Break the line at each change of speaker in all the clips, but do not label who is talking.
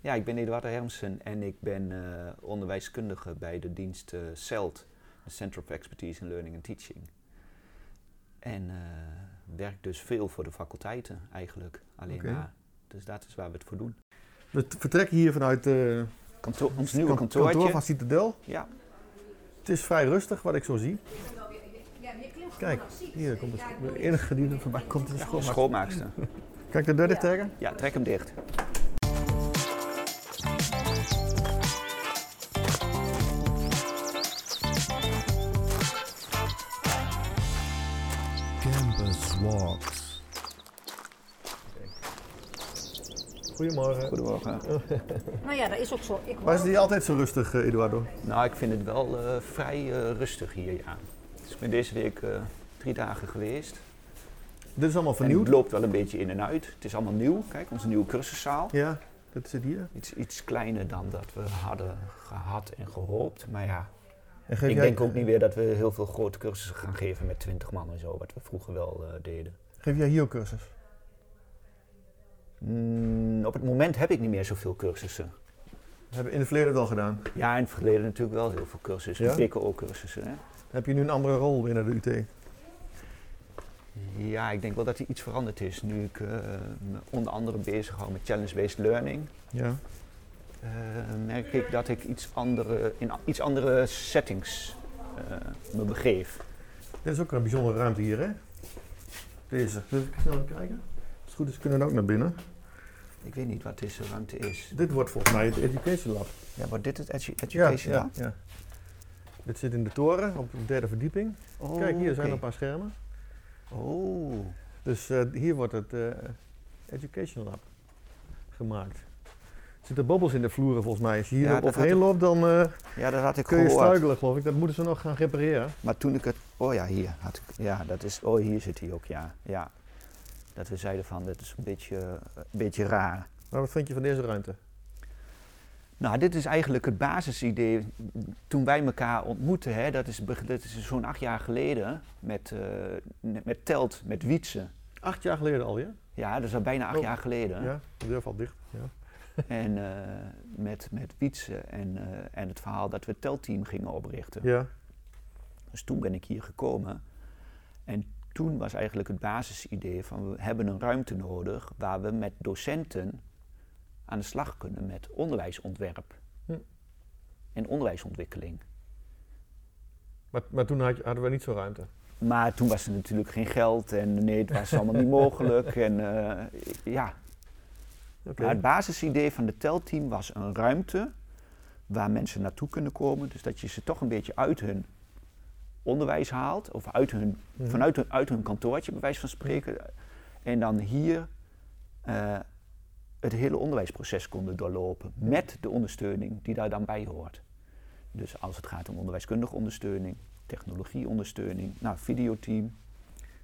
Ja, ik ben Eduardo Hermsen en ik ben eh, onderwijskundige bij de dienst eh, CELT, de Center of Expertise in Learning and Teaching. En eh, werk dus veel voor de faculteiten eigenlijk alleen
Oké.
maar. Dus dat is waar we het voor doen.
We t- vertrekken hier vanuit eh, het
Kantoor, ons nieuwe
kan-
kantoortje.
kantoor van Citadel.
Ja,
Het is vrij rustig wat ik zo zie. Kijk, hier komt de, scho- de enige die er voorbij komt is de schoonmaak.
schoonmaakster.
Kan ik de deur dicht trekken?
Ja, trek hem dicht.
Campus Walks. Goedemorgen.
Goedemorgen.
Nou ja, dat is ook zo. Ik
Maar is
hoor-
die altijd zo rustig, eh, Eduardo?
Nou, ik vind het wel eh, vrij eh, rustig hier, ja. Dus ik ben deze week eh, drie dagen geweest.
Dit is allemaal
En het
vernieuwd.
loopt wel een beetje in en uit. Het is allemaal nieuw. Kijk, onze nieuwe cursuszaal.
Ja, dat zit hier.
Iets, iets kleiner dan dat we hadden gehad en gehoopt. Maar ja,
En geef
ik
jij-
denk ook niet weer dat we heel veel grote cursussen gaan geven met 20 man en zo, wat we vroeger wel eh, deden.
Geef jij hier ook cursus?
Mm, op het moment heb ik niet meer zoveel cursussen.
We hebben in het verleden het al gedaan.
Ja, in het verleden natuurlijk wel heel veel cursussen.
Ja?
PKO-cursussen, hè.
Heb je nu een andere rol binnen de UT?
Ja, ik denk wel dat er iets veranderd is. Nu ik eh, me onder andere bezig hou met challenge-based learning,
Ja.
eh, merk ik dat ik iets andere, in a- iets andere settings eh, me begeef.
Dit is ook een bijzondere ruimte hier, hè? Deze. Wil ik snel even kijken? Als het goed is, kunnen we dan ook naar binnen.
Ik weet niet wat deze ruimte is.
Dit wordt volgens mij het Education Lab.
Ja, wordt dit het edu- education lab?
ja. Dit zit in de toren op de derde verdieping.
Oh,
Kijk, hier zijn
oké.
een paar schermen.
Oh,
Dus eh, hier wordt het eh, Education Lab gemaakt. Er zitten bobbels in de vloeren volgens mij. Als je hier
Ja,
op
dat
overheen
had
loopt, dan eh,
ja, dat had ik
kun je
gehoord.
struikelen geloof ik. Dat moeten ze nog gaan repareren.
Maar toen ik het... Oh ja, hier had ik... Ja, dat is... Oh, hier zit hij ook, ja. ja. Dat we zeiden van, dat is een beetje, een beetje raar.
Maar wat vind je van deze ruimte?
Nou, dit is eigenlijk het basisidee toen wij elkaar ontmoetten. Hè, dat is, beg- dat is zo'n acht jaar geleden met, eh, ne- met Telt, met Wietse.
Acht jaar geleden alweer.
Ja, dat is al bijna acht
Oh,
jaar geleden.
Ja, de deur valt dicht. Ja.
En eh, met, met Wietse en, eh, en het verhaal dat we het Teltteam gingen oprichten.
ja.
Dus toen ben ik hier gekomen. En toen was eigenlijk het basisidee van we hebben een ruimte nodig waar we met docenten aan de slag kunnen met onderwijsontwerp
Hm.
en onderwijsontwikkeling.
Maar, maar toen had je- hadden we niet zo'n ruimte.
Maar toen was er natuurlijk geen geld en nee, het was allemaal niet mogelijk. En eh, ja,
Oké.
maar het basisidee van de telteam was een ruimte waar mensen naartoe kunnen komen. Dus dat je ze toch een beetje uit hun onderwijs haalt of uit hun
Mhm.
vanuit hun, uit hun kantoortje, bij wijze van spreken. En dan hier eh, het hele onderwijsproces konden doorlopen. Met de ondersteuning die daar dan bij hoort. Dus als het gaat om onderwijskundige ondersteuning, technologieondersteuning, nou, videoteam.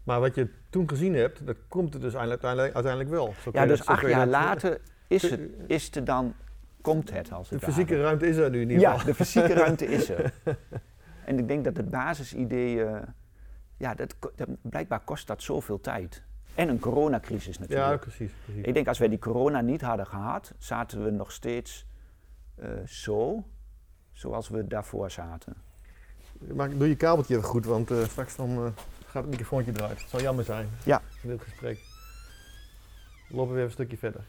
Maar wat je toen gezien hebt, dat komt er dus uiteindelijk, uiteindelijk wel. Zo kun
Ja,
je
dus
dat- zo
acht
kun je
jaar
dat-
later is
kun-
het, is het er dan, komt het als
De
het
fysieke
ware.
ruimte is er nu in ieder
Ja,
geval.
de fysieke ruimte is er. En ik denk dat het basisidee, eh, ja, dat, ko- dat, blijkbaar kost dat zoveel tijd. En een coronacrisis natuurlijk.
Ja, precies. precies.
Ik denk als wij die corona niet hadden gehad, zaten we nog steeds eh, zo, zoals we daarvoor zaten.
Maak, doe je kabeltje even goed, want eh, straks dan, eh, gaat het microfoontje eruit. Het zou jammer zijn
Ja.
in dit gesprek. Lopen we weer een stukje verder.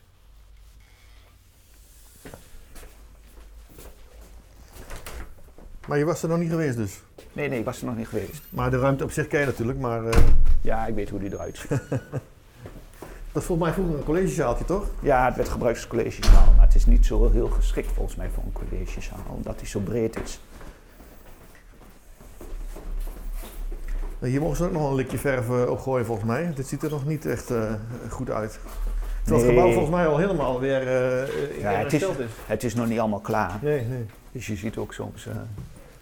Maar je was er nog niet geweest dus.
Nee, nee, ik was er nog niet geweest.
Maar de ruimte op zich ken je natuurlijk, maar eh,
Ja, ik weet hoe die eruit ziet.
dat is volgens mij vroeger een collegezaaltje toch?
Ja, het werd gebruikt als collegezaal, maar het is niet zo heel geschikt volgens mij voor een collegezaal, omdat die zo breed is.
Nou, Hier mogen ze ook nog wel een likje verf eh, op gooien volgens mij. Dit ziet er nog niet echt eh, goed uit. Terwijl het
Nee.
gebouw volgens mij al helemaal weer eh
Ja,
ja,
het is-
hersteld is.
Het is nog niet allemaal klaar,
Nee, nee.
dus je ziet ook soms... eh,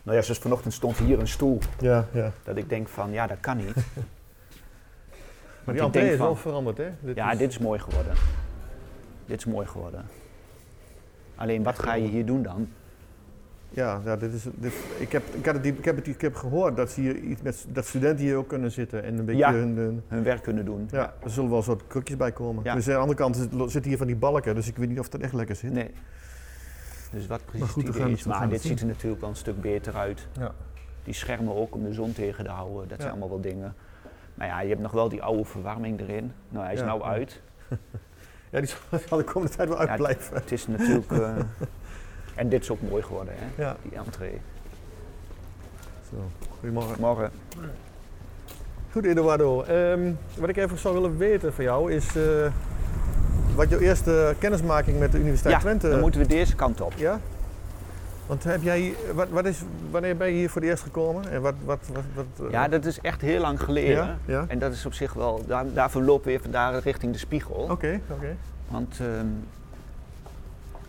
nou ja, zoals vanochtend stond hier een stoel,
Ja, ja.
dat ik denk van, ja, dat kan niet.
Maar
ik
die entree
denk
is wel
van-
veranderd, hè?
Ja, dit is mooi geworden. Dit is mooi geworden. Alleen, wat ga je hier doen dan?
Ja, ja dit is, dit, ik, heb, ik, had het, ik, heb het, ik heb gehoord dat, ze hier iets met, dat studenten hier ook kunnen zitten en een beetje
Ja.
hun, hun-
hun werk kunnen doen.
Ja, er zullen wel een soort krukjes bij komen.
Ja.
Dus aan de andere kant zit- zitten hier van die balken, dus ik weet niet of dat echt lekker zit.
Nee. Dus wat precies
Maar goed,
het
we
idee
gaan
is.
het- we
Maar
gaan het
dit ziet er natuurlijk wel een stuk beter uit.
Ja.
Die schermen ook om de zon tegen te houden. Dat zijn
Ja.
allemaal wel dingen. Maar ja, je hebt nog wel die oude verwarming erin. Nou, hij is
Ja,
nou
ja.
uit.
Ja, die zal de komende tijd wel
Ja,
uitblijven.
Het is natuurlijk... eh, en dit is ook mooi geworden, hè?
Ja.
Die entree.
Zo, goedemorgen.
Morgen.
Goed Eduardo, Ehm, wat ik even zou willen weten van jou is eh, wat jouw eerste kennismaking met de Universiteit
Ja,
Twente...
dan moeten we deze kant op.
Ja? Want heb jij, wat, wat is, wanneer ben je hier voor het eerst gekomen? En wat, wat, wat, wat, eh,
Ja, dat is echt heel lang geleden.
Ja, ja.
En dat is op zich wel... Daar, daarvoor lopen we weer vandaar richting de spiegel.
Oké, oké.
Want ehm,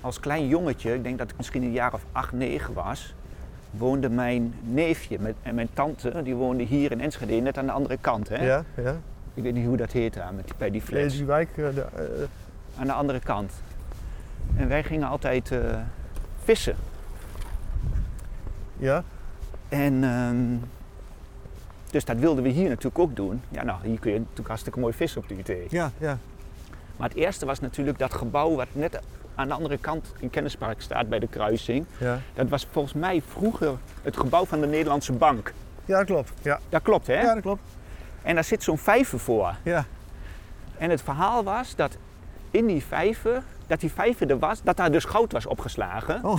als klein jongetje, ik denk dat ik misschien een jaar of acht, negen was, woonde mijn neefje met, en mijn tante, die woonde hier in Enschede, net aan de andere kant. Hè?
Ja, ja.
Ik weet niet hoe dat heet daar, met die, bij die
Eh,
flats.
Die wijk, eh, de, eh,
Aan de andere kant. En wij gingen altijd eh, vissen.
ja,
En ehm, dus dat wilden we hier natuurlijk ook doen. Ja, nou, hier kun je natuurlijk hartstikke mooi vissen op de UT.
ja, ja.
Maar het eerste was natuurlijk dat gebouw wat net aan de andere kant in Kennispark staat bij de kruising.
Ja,
Dat was volgens mij vroeger het gebouw van de Nederlandse Bank.
ja dat klopt. Ja.
Dat klopt, hè?
ja, dat klopt.
En daar zit zo'n vijver voor.
Ja.
En het verhaal was dat in die vijver, dat die vijver er was, dat daar dus goud was opgeslagen.
Oh.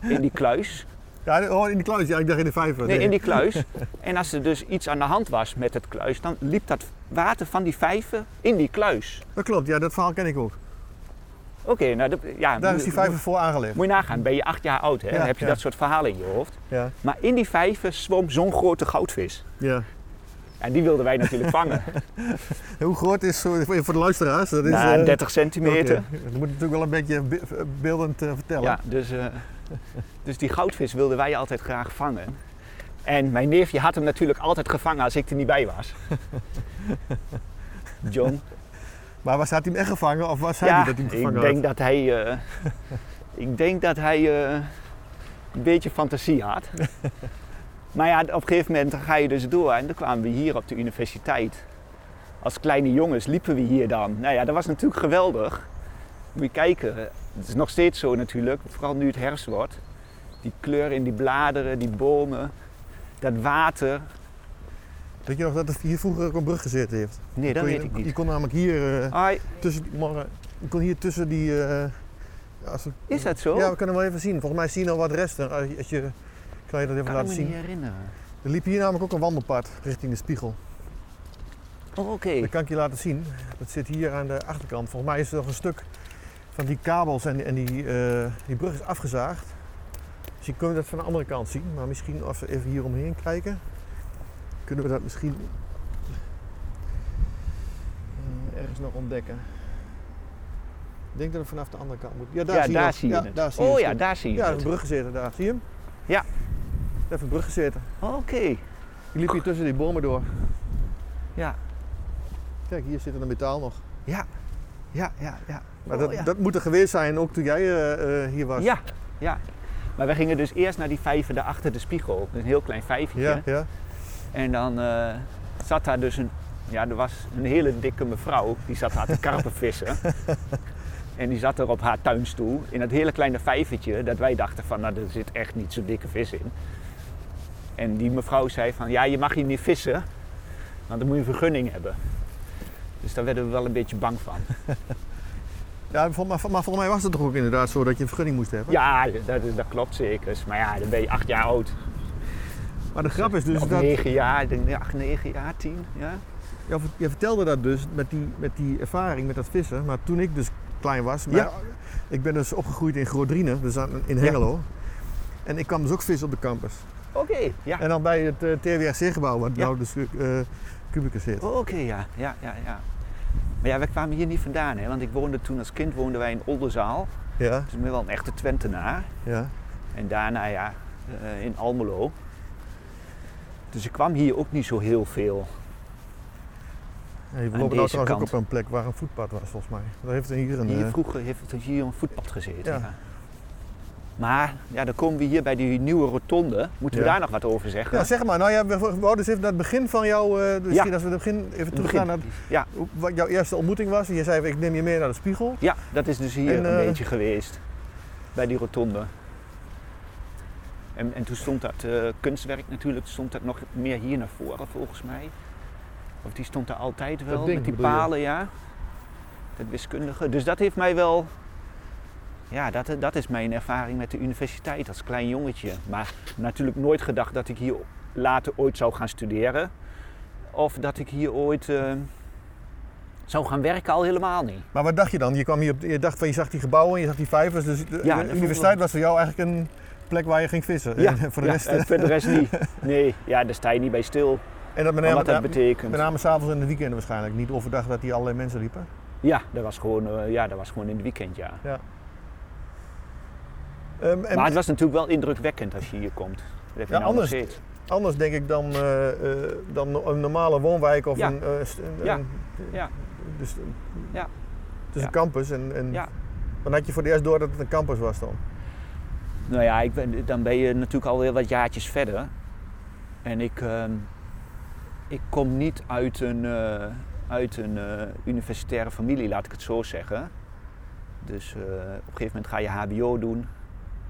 In die kluis.
Ja, oh, in die kluis. Ja, ik dacht in de vijver.
Nee, in die kluis. En als er dus iets aan de hand was met het kluis, dan liep dat water van die vijver in die kluis.
Dat klopt, ja, dat verhaal ken ik ook.
Oké, nou, dat- ja,
Daar
moet-
is die vijver voor aangelegd.
Moet je nagaan, ben je acht jaar oud, hè?
Ja,
dan heb je
ja.
dat soort verhalen in je hoofd.
Ja,
Maar in die vijver zwom zo'n grote goudvis.
ja.
En die wilden wij natuurlijk vangen.
En hoe groot is, zo- voor voor de luisteraars, dat is...
Na
eh,
30 centimeter.
oké. Dat moet natuurlijk wel een beetje be- beeldend eh, vertellen.
Ja, dus, eh, dus die goudvis wilden wij altijd graag vangen. En mijn neefje had hem natuurlijk altijd gevangen als ik er niet bij was. John.
Maar was, had hij hem echt gevangen of was hij
ja,
niet dat hij hem gevangen
ik denk dat hij, eh, ik denk dat hij eh, een beetje fantasie had. maar ja, op een gegeven moment ga je dus door. En dan kwamen we hier op de universiteit. Als kleine jongens liepen we hier dan. Nou ja, dat was natuurlijk geweldig. Moet je kijken. Het is nog steeds zo natuurlijk, vooral nu het herfst wordt. Die kleur in die bladeren, die bomen, dat water.
had? Weet je nog dat het hier vroeger ook een brug gezeten heeft?
Nee, dat
Kon je-
weet ik
Je
niet.
kon namelijk hier, eh,
Ai,
tussen, morgen, je kon hier tussen die... eh, als we-
is dat zo?
Ja, we kunnen hem wel even zien. Volgens mij zien we al wat resten. Als je, als je, ik kan je dat even
kan ik
laten
me
zien?
niet herinneren.
Er liep hier namelijk ook een wandelpad richting de spiegel.
Oh, oké.
Dat kan ik je laten zien. Dat zit hier aan de achterkant. Volgens mij is er nog een stuk van die kabels en, en die, eh, die brug is afgezaagd. Dus Misschien kunnen we dat van de andere kant zien. Maar misschien als we even hier omheen kijken, kunnen we dat misschien eh, ergens nog ontdekken. Ik denk dat we vanaf de andere kant moeten. Ja, daar,
ja,
zie,
daar
je
zie je
ja,
het.
Daar zie je
oh
het
ja,
stuk.
daar zie je
Ja, er is
het.
een brug gezeten daar. Zie je hem?
Ja.
Daar heeft een brug gezeten.
Oké.
Die liep hier tussen die bomen door.
Ja.
Kijk, hier zit er een metaal nog.
Ja. Ja, ja, ja.
Maar
Oh,
dat,
ja.
dat moet er geweest zijn, ook toen jij eh, eh, hier was.
Ja, ja. Maar we gingen dus eerst naar die vijver daar achter de spiegel. Dus Een heel klein vijvertje.
Ja, ja.
En dan eh, zat daar dus een... Ja, er was een hele dikke mevrouw. Die zat daar te karpenvissen. en die zat er op haar tuinstoel. In dat hele kleine vijvertje. Dat wij dachten van, nou, er zit echt niet zo'n dikke vis in. En die mevrouw zei van, ja, je mag hier niet vissen. Want dan moet je een vergunning hebben. Dus daar werden we wel een beetje bang van.
ja vol- maar, vol- maar volgens mij was het toch ook inderdaad zo dat je een vergunning moest hebben.
Ja, dat, is- dat klopt zeker. Maar ja, dan ben je acht jaar oud.
Maar de grap is dus
of
dat.
negen jaar, ik denk ja, acht, negen jaar, tien. Ja.
Ja, ver- je vertelde dat dus met die, met die ervaring met dat vissen. Maar toen ik dus klein was. Maar
Ja.
Ik ben dus opgegroeid in Grootdrienen, dus aan- in Hengelo. En ik kwam dus ook vissen op de campus.
Oké, ja.
En dan bij het eh, TWRC-gebouw, waar
Ja.
nou dus eh Kubicus zit.
Oh, Oké, ja. ja, ja, ja. Maar ja, wij kwamen hier niet vandaan, hè? want ik woonde toen als kind woonden wij in Oldenzaal.
Ja,
Dus ik ben wel een echte Twentenaar.
ja.
En daarna ja, eh, in Almelo. Dus ik kwam hier ook niet zo heel veel.
Ja, we lopen nou
deze
trouwens ook
kant.
op een plek waar een voetpad was, volgens mij. Daar heeft hier een...
Hier
eh,
vroeger heeft het hier een voetpad gezeten.
Ja.
Ja. Maar ja, dan komen we hier bij die nieuwe rotonde. Moeten we
Ja.
daar nog wat over zeggen?
Ja, zeg maar. Nou ja, we we wouden dus even naar het begin van jouw... eh misschien
Ja.
als we het begin even
begin.
teruggaan naar
Ja.
hoe- wat jouw eerste ontmoeting was. En je zei, ik neem je mee naar de spiegel.
Ja, dat is dus hier
En,
een
eh,
beetje geweest. Bij die rotonde. En, en toen stond dat eh, kunstwerk natuurlijk stond dat nog meer hier naar voren volgens mij. Of die stond er altijd wel,
ding
met die
bedoel je?
palen, ja. Dat wiskundige. Dus dat heeft mij wel... Ja, dat, dat is mijn ervaring met de universiteit als klein jongetje. Maar natuurlijk nooit gedacht dat ik hier later ooit zou gaan studeren. Of dat ik hier ooit eh, zou gaan werken, al helemaal niet.
Maar wat dacht je dan? Je, kwam hier, op- je dacht van, je zag die gebouwen, je zag die vijvers. Dus de,
Ja,
de
dat vond ik
universiteit was voor jou eigenlijk een plek waar je ging vissen. En voor de
ja,
rest... eh.
en voor de rest niet. Nee, ja, daar sta je niet bij stil.
En dat met
Maar
name,
wat dat betekent.
met name s'avonds en de weekenden waarschijnlijk. Niet overdag dat hier allerlei mensen liepen.
Ja, dat was gewoon, eh, ja, dat was gewoon in het weekend, ja.
Ehm, en
maar het was natuurlijk wel indrukwekkend als je hier komt. Dat heb je
Ja,
nou nog
anders.
steeds.
anders denk ik dan, eh, eh, dan no- een normale woonwijk of
Ja.
een, eh, st- een-
Ja.
een-
Ja.
Dus, een-
Ja.
Het is
Ja.
een campus en, en
Ja.
dan had je voor het eerst door dat het een campus was dan.
Nou ja, ik ben, dan ben je natuurlijk alweer wat jaartjes verder. En ik, ehm, ik kom niet uit een, eh, uit een eh, universitaire familie, laat ik het zo zeggen. Dus eh, op een gegeven moment ga je HBO doen.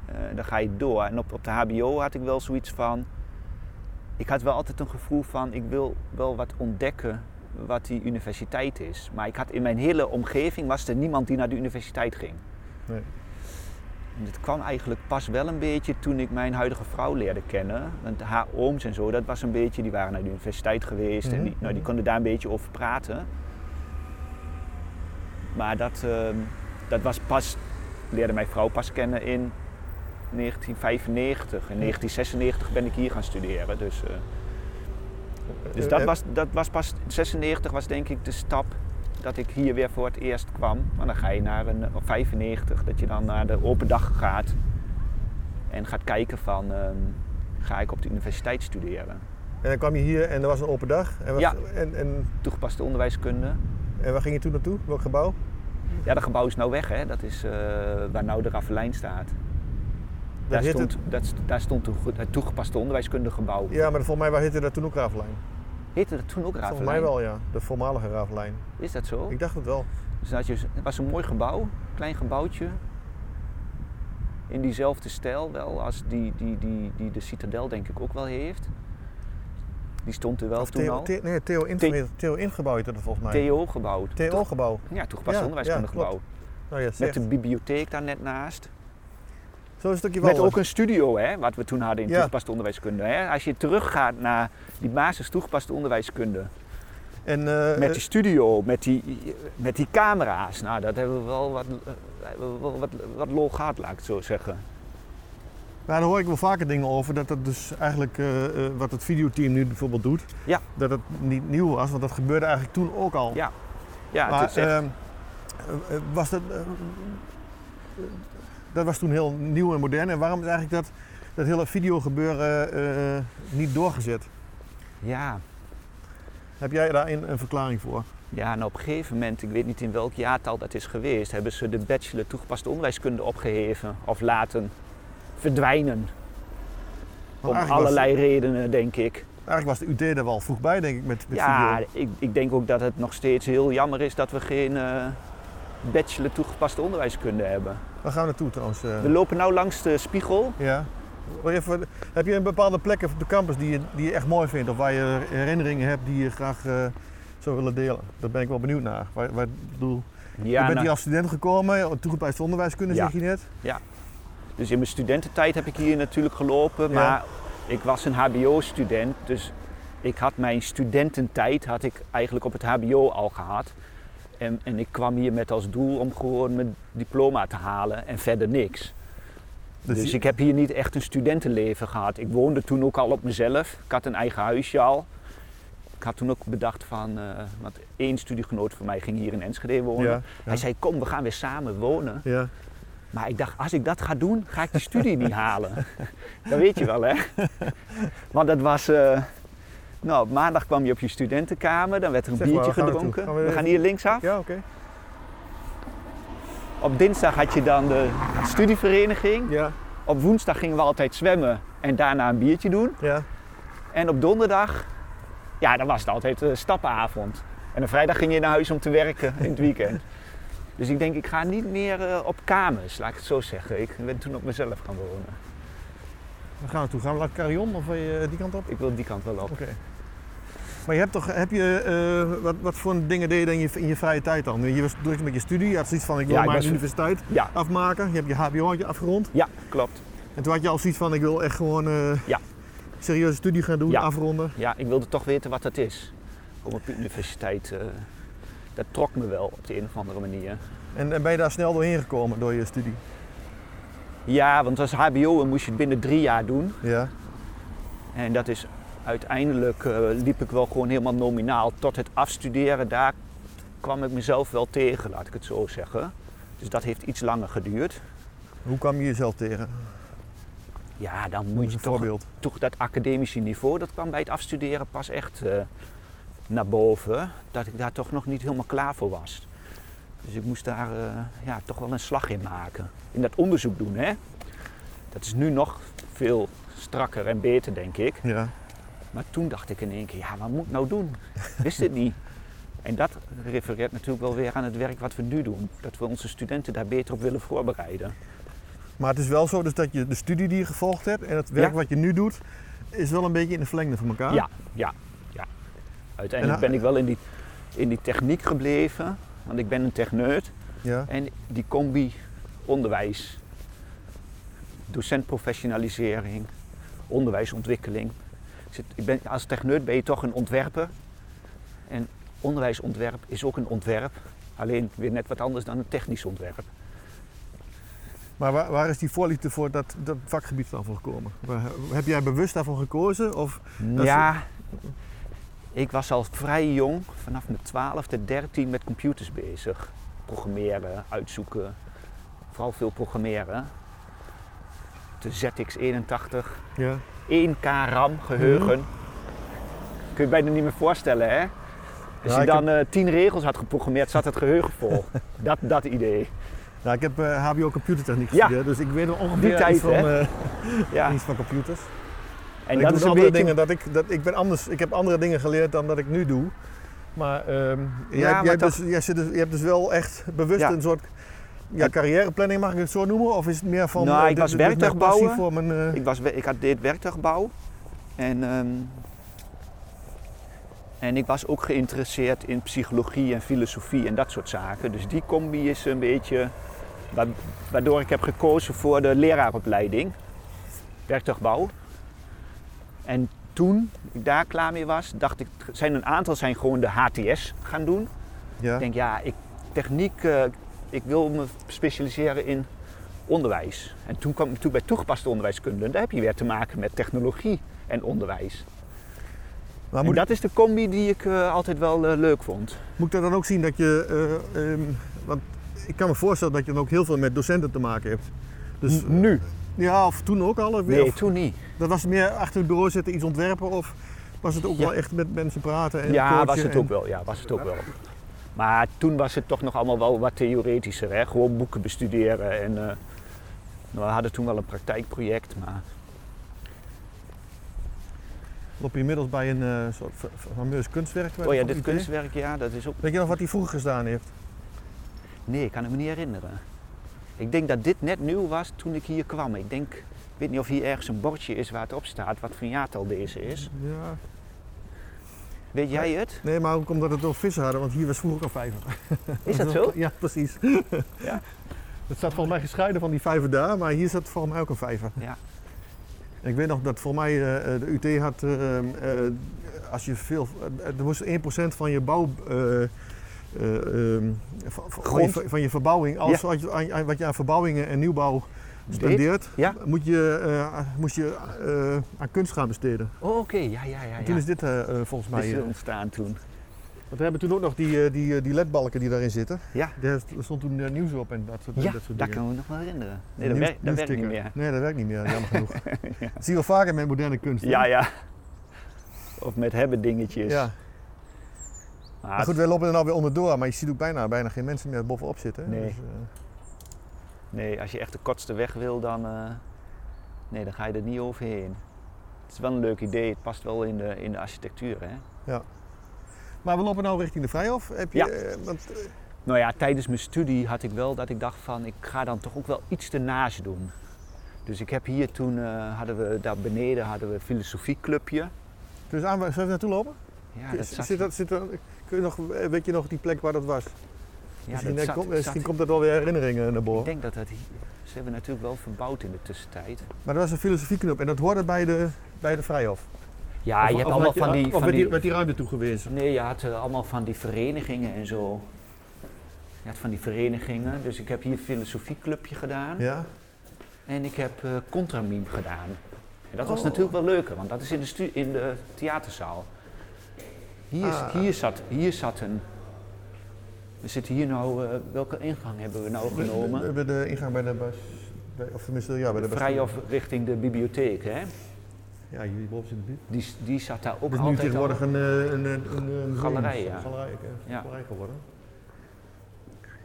Eh, dan ga je door. En op, op de HBO had ik wel zoiets van. Ik had wel altijd een gevoel van: ik wil wel wat ontdekken wat die universiteit is. Maar ik had in mijn hele omgeving was er niemand die naar de universiteit ging. En Het kwam eigenlijk pas wel een beetje toen ik mijn huidige vrouw leerde kennen. Want haar ooms en zo, dat was een beetje, die waren naar de universiteit geweest en
Mhm,
die, nou, die
mhm.
konden daar een beetje over praten. Maar dat, ehm, dat was pas, leerde mijn vrouw pas kennen in 1995. In 1996 ben ik hier gaan studeren. Dus, eh, dus dat,
Eh,
was, dat was pas, 96 was denk ik de stap dat ik hier weer voor het eerst kwam. Maar dan ga je naar een, op 95, dat je dan naar de open dag gaat. En gaat kijken van, ehm, ga ik op de universiteit studeren?
En dan kwam je hier en er was een open dag. En, wat-
Ja.
en, en,
Toegepaste onderwijskunde.
en waar ging je toen naartoe? Welk gebouw?
Ja, dat gebouw is nou weg hè. Dat is eh, waar nou de Raffelijn staat. Daar
heette-
stond, dat, st- daar stond toege- het toegepaste onderwijskundegebouw.
Ja, maar volgens mij waar heette dat toen ook Ravelijn.
Heette dat toen ook Raffelijn?
Volgens mij wel, ja. De voormalige Ravelijn.
Is dat zo?
Ik dacht het wel.
Dus dan had je, het was een mooi gebouw, klein gebouwtje. In diezelfde stijl wel als die, die, die, die de Citadel denk ik ook wel heeft. Die stond er wel
Of
toen
Theo,
al.
Theo- nee, Theo Inf
Theo-
Theo Ingebouw heette dat volgens mij.
TO gebouwd.
TO
Toch?
gebouw.
Ja, toegepast
Ja, ja,
onderwijskundegebouw.
klopt. Nou ja, zeg.
Met de bibliotheek daar net naast.
Zo'n stukje
Met
wel.
ook een studio, hè, wat we toen hadden in
Ja.
toegepaste onderwijskunde. Hè. Als je teruggaat naar die basis toegepaste onderwijskunde.
En, eh,
Met die studio, met die, met die camera's. Nou, dat hebben we wel wat, eh, hebben we wel wat, wat lol gehad, laat ik het zo zeggen.
Ja, daar hoor ik wel vaker dingen over. Dat dat dus eigenlijk, eh, eh, wat het videoteam nu bijvoorbeeld doet,
Ja.
dat dat niet nieuw was, want dat gebeurde eigenlijk toen ook al.
Ja, Ja, het
maar
is echt-
ehm, eh, eh, was dat, eh, eh, dat was toen heel nieuw en modern. En waarom is eigenlijk dat, dat hele videogebeuren eh, niet doorgezet? eh,
ja.
Heb jij daarin een verklaring voor?
Ja, en op een gegeven moment, ik weet niet in welk jaartal dat is geweest, hebben ze de bachelor toegepaste onderwijskunde opgeheven of laten verdwijnen.
Want
om
eigenlijk was-
allerlei redenen, denk ik.
Eigenlijk was de UT er wel vroeg bij, denk ik, met, met
Ja,
video.
ik, ik denk ook dat het nog steeds heel jammer is dat we geen eh, bachelor toegepaste onderwijskunde hebben.
Waar gaan we naartoe trouwens? eh?
We lopen nou langs de spiegel.
Ja. Wil je even- heb je een bepaalde plek op de campus die je, die je echt mooi vindt? Of waar je herinneringen hebt die je graag eh, zou willen delen? Daar ben ik wel benieuwd naar. Waar, waar, ik bedoel, je
Ja,
bent
nou,
hier als student gekomen, toegepast onderwijskunde
Ja.
zeg je net.
dus in mijn studententijd heb ik hier natuurlijk gelopen,
Ja.
maar ik was een HBO-student, dus ik had mijn studententijd had ik eigenlijk op het HBO al gehad. En, en ik kwam hier met als doel om gewoon mijn diploma te halen en verder niks. Dus,
je-
ik heb hier niet echt een studentenleven gehad. Ik woonde toen ook al op mezelf. Ik had een eigen huisje al. Ik had toen ook bedacht van, eh, want één studiegenoot van mij ging hier in Enschede wonen.
ja,
Hij zei, kom, we gaan weer samen wonen.
ja.
Maar ik dacht, als ik dat ga doen, ga ik die studie niet halen. Dat weet je wel, hè? Want dat was... eh, nou, op maandag kwam je op je studentenkamer, dan werd er een
Zeg maar,
biertje
waar gaan we
gedronken.
naartoe?
we,
Gaan we
gaan
even-
hier linksaf.
Ja, oké.
Op dinsdag had je dan de studievereniging.
Ja.
op woensdag gingen we altijd zwemmen en daarna een biertje doen.
Ja.
En op donderdag, ja, dan was het altijd eh, stappenavond. En op vrijdag ging je naar huis om te werken in het weekend. Dus ik denk, ik ga niet meer eh, op kamers, laat ik het zo zeggen. Ik ben toen op mezelf gaan wonen.
Waar gaan we naartoe? Gaan we naar Carillon of wil je die kant op?
Ik wil die kant wel op.
Oké. Maar je hebt toch, heb je, eh, wat, wat voor dingen deed je dan in je, in je vrije tijd dan? Je was druk met je studie, je had zoiets van ik wil
Ja, ik
mijn
was-
universiteit
Ja,
afmaken. Je hebt je hbo afgerond.
ja klopt.
En toen had je al zoiets van ik wil echt gewoon eh
Ja.
serieuze studie gaan doen,
Ja.
afronden.
Ja, ik wilde toch weten wat dat is. Kom op de universiteit, eh, dat trok me wel op de een of andere manier.
En, en ben je daar snel doorheen gekomen door je studie?
Ja, want als hbo moest je het binnen drie jaar doen.
Ja.
En dat is uiteindelijk eh, liep ik wel gewoon helemaal nominaal. Tot het afstuderen, daar kwam ik mezelf wel tegen, laat ik het zo zeggen. Dus dat heeft iets langer geduurd.
Hoe kwam je jezelf tegen?
Ja, dan
Noem
moet
eens
je
een
toch,
voorbeeld.
toch dat academische niveau, dat kwam bij het afstuderen pas echt eh, naar boven. Dat ik daar toch nog niet helemaal klaar voor was. Dus ik moest daar eh, ja, toch wel een slag in maken. In dat onderzoek doen, hè. Dat is nu nog veel strakker en beter, denk ik.
Ja.
Maar toen dacht ik in één keer, ja, wat moet ik nou doen? Wist het niet. En dat refereert natuurlijk wel weer aan het werk wat we nu doen. Dat we onze studenten daar beter op willen voorbereiden.
Maar het is wel zo dus dat je de studie die je gevolgd hebt en het werk
Ja.
wat je nu doet, is wel een beetje in de verlengde van elkaar.
Ja, ja, ja. Uiteindelijk
En,
ben ik wel in die, in die techniek gebleven. Want ik ben een techneut.
ja.
En die combi onderwijs, docent professionalisering, onderwijsontwikkeling. Ik zit, ik ben, als techneut ben je toch een ontwerper. En onderwijsontwerp is ook een ontwerp. Alleen weer net wat anders dan een technisch ontwerp.
Maar waar, waar is die voorliefde voor dat, dat vakgebied dan voor gekomen? Waar- heb jij bewust daarvoor gekozen? Of, is-
ja, ik was al vrij jong, vanaf mijn 12e, 13 met computers bezig. Programmeren, uitzoeken, vooral veel programmeren. De ZX81,
ja.
1K RAM geheugen.
Mhm.
Kun je bijna niet meer voorstellen, hè? Als
Ja,
je
ik
dan eh tien regels had geprogrammeerd, zat het geheugen vol. dat, dat idee.
Nou, ik heb eh, HBO computertechniek
Ja.
gestudeerd, dus ik weet wel ongeveer
tijd,
iets, van,
hè?
eh,
Ja.
iets van computers.
En
ik
dat
doe
is een
andere
beetje...
dingen dat ik, dat ik ben anders. Ik heb andere dingen geleerd dan dat ik nu doe. Maar ehm, jij,
maar
jij, hebt
toch-
dus, jij zit dus- je hebt dus wel echt bewust
Ja.
een soort ja,
Het-
carrièreplanning, mag ik het zo noemen? Of is het meer van
Nou,
eh,
ik was
dit is mijn
werktuigbouwer.
passie voor mijn, eh,
Ik, was, we- ik had dit werktuigbouw. En, ehm, en ik was ook geïnteresseerd in psychologie en filosofie en dat soort zaken. Dus die combi is een beetje wa- waardoor ik heb gekozen voor de leraaropleiding. Werktuigbouw. En toen ik daar klaar mee was, dacht ik, zijn een aantal zijn gewoon de HTS gaan doen.
ja.
Ik denk, ja, ik, techniek, eh, ik wil me specialiseren in onderwijs. En toen kwam ik toe bij toegepaste onderwijskunde. En daar heb je weer te maken met technologie en onderwijs.
Maar
en
moet,
dat is de combi die ik eh, altijd wel eh, leuk vond.
moet ik dat dan ook zien dat je... eh, ehm, want ik kan me voorstellen dat je dan ook heel veel met docenten te maken hebt. Dus,
nu?
ja, of toen ook al? Of,
Nee,
of-
toen niet.
dat was meer achter het bureau zitten, iets ontwerpen? Of was het ook
Ja.
wel echt met mensen praten? En
Ja,
coachen
was het
en-
ook wel. Ja, was het ook wel. Maar toen was het toch nog allemaal wel wat theoretischer. Hè? Gewoon boeken bestuderen. En, eh, we hadden toen wel een praktijkproject, maar
Loop je inmiddels bij een eh, soort fa- fameus kunstwerk?
Oh ja, dit kunstwerk, ja, dat is ook...
Weet je nog wat hij vroeger gedaan heeft?
Nee, ik kan het me niet herinneren. Ik denk dat dit net nieuw was toen ik hier kwam. Ik denk, ik weet niet of hier ergens een bordje is waar het op staat, wat voor jaartal deze is.
Ja.
Weet jij het?
Nee, maar ook omdat het door vissen hadden, want hier was vroeger ook een vijver.
Is dat zo?
Ja, precies.
Ja.
Het staat volgens mij gescheiden van die vijver daar, maar hier zat volgens mij ook een vijver.
Ja.
En ik weet nog dat voor mij eh, eh, de UT had, eh, eh, als je veel, eh, er moest 1% van je bouw, eh, eh, ehm, van, van- van, je,
Grond.
van je verbouwing, alles wat, je, aan- aan- wat je aan verbouwingen en nieuwbouw spendeert,
Ja.
moet je, eh, moest je eh, aan kunst gaan besteden.
Oh, oké. Ja, ja, ja. ja.
En toen is dit eh, eh, volgens mij.
Dit is
eh,
ontstaan toen.
want we hebben toen ook nog die, eh, die, eh, die ledbalken die daarin zitten.
Ja.
Daar stond toen eh, nieuws op en dat soort,
Ja,
dat soort
dat
dingen.
kan me nog wel herinneren. Nee, dat,
Nieuws-
werkt- dat werkt niet
nieuwsticker.
meer.
Nee, dat werkt niet meer, jammer genoeg. Dat zie je wel vaker met moderne kunst. hè?
Ja, ja. Of met hebben dingetjes.
Ja.
Maar
Maar goed, wij lopen er nou weer onderdoor, maar je ziet ook bijna, bijna geen mensen meer bovenop zitten. hè. Dus,
Nee.
eh,
nee, als je echt de kortste weg wil, dan eh, Nee, dan ga je er niet overheen. Het is wel een leuk idee, het past wel in de, in de architectuur. Hè?
Maar we lopen nou richting de Vrijhof. Heb je,
Ja.
eh, want, eh,
Nou ja, tijdens mijn studie had ik wel dat ik dacht van ik ga dan toch ook wel iets ernaast doen. Dus ik heb hier toen, eh, hadden we daar beneden hadden we een filosofieclubje.
dus aan, zullen we naartoe lopen?
Ja, dat
Zit-
zat,
zit dat, zit er- kun je nog, eh, weet je nog die plek waar dat was?
ja,
misschien
dat
eh,
zat-
komt-
zat-
misschien komt dat alweer herinneringen naar
Ik
boven.
denk dat dat hier, ze hebben natuurlijk wel verbouwd in de tussentijd.
Maar dat was een filosofieknop en dat hoorde bij de, bij de Vrijhof.
Ja, Ah, je
Of-
hebt
of
allemaal
werd
van die...
Of
Van
werd
die,
die, werd die ruimte toegewezen?
nee, je had eh, allemaal van die verenigingen en zo. Je had van die verenigingen. Dus ik heb hier filosofieclubje gedaan.
Ja.
En ik heb eh contramime gedaan. En dat was
Oh.
natuurlijk wel leuker, want dat is in de, stu- in de theaterzaal. Hier, is-
Ah.
hier, zat, hier zat een. We zitten hier nou. eh, welke ingang hebben we nou
We
genomen?
hebben de ingang bij de bas. bij- Of tenminste, ja, bij de bas.
Vrijaf richting de bibliotheek, hè?
Ja, jullie boven zitten dit.
Die, s- die zat daar ook
Het is nu
altijd. al.
tegenwoordig een, eh, een, een, een, een
Galerij, ja.
een Galerij, eh, een
Ja.
galerij geworden.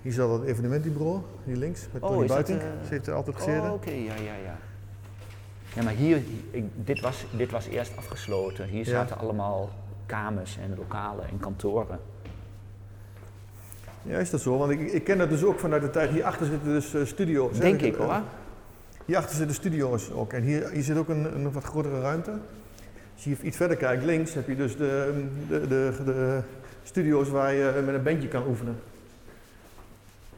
Hier zat het evenementenbureau, hier links, met
Oh,
Tony
is dat,
Buiting.
eh,
Ze heeft er altijd gezeten.
Oh, oké, ja, ja, ja. Ja, maar hier, ik- dit, was, dit was eerst afgesloten. Hier
Ja.
zaten allemaal kamers en lokalen en kantoren.
Ja, is dat zo? Want ik, ik ken dat dus ook vanuit de tijd. Hierachter zitten dus eh, studio's. hè?
Denk ik hoor.
eh, Hierachter zitten studio's ook. En hier, hier zit ook een, een wat grotere ruimte. Als je iets verder kijkt, links heb je dus de, de, de, de studio's waar je eh, met een bandje kan oefenen.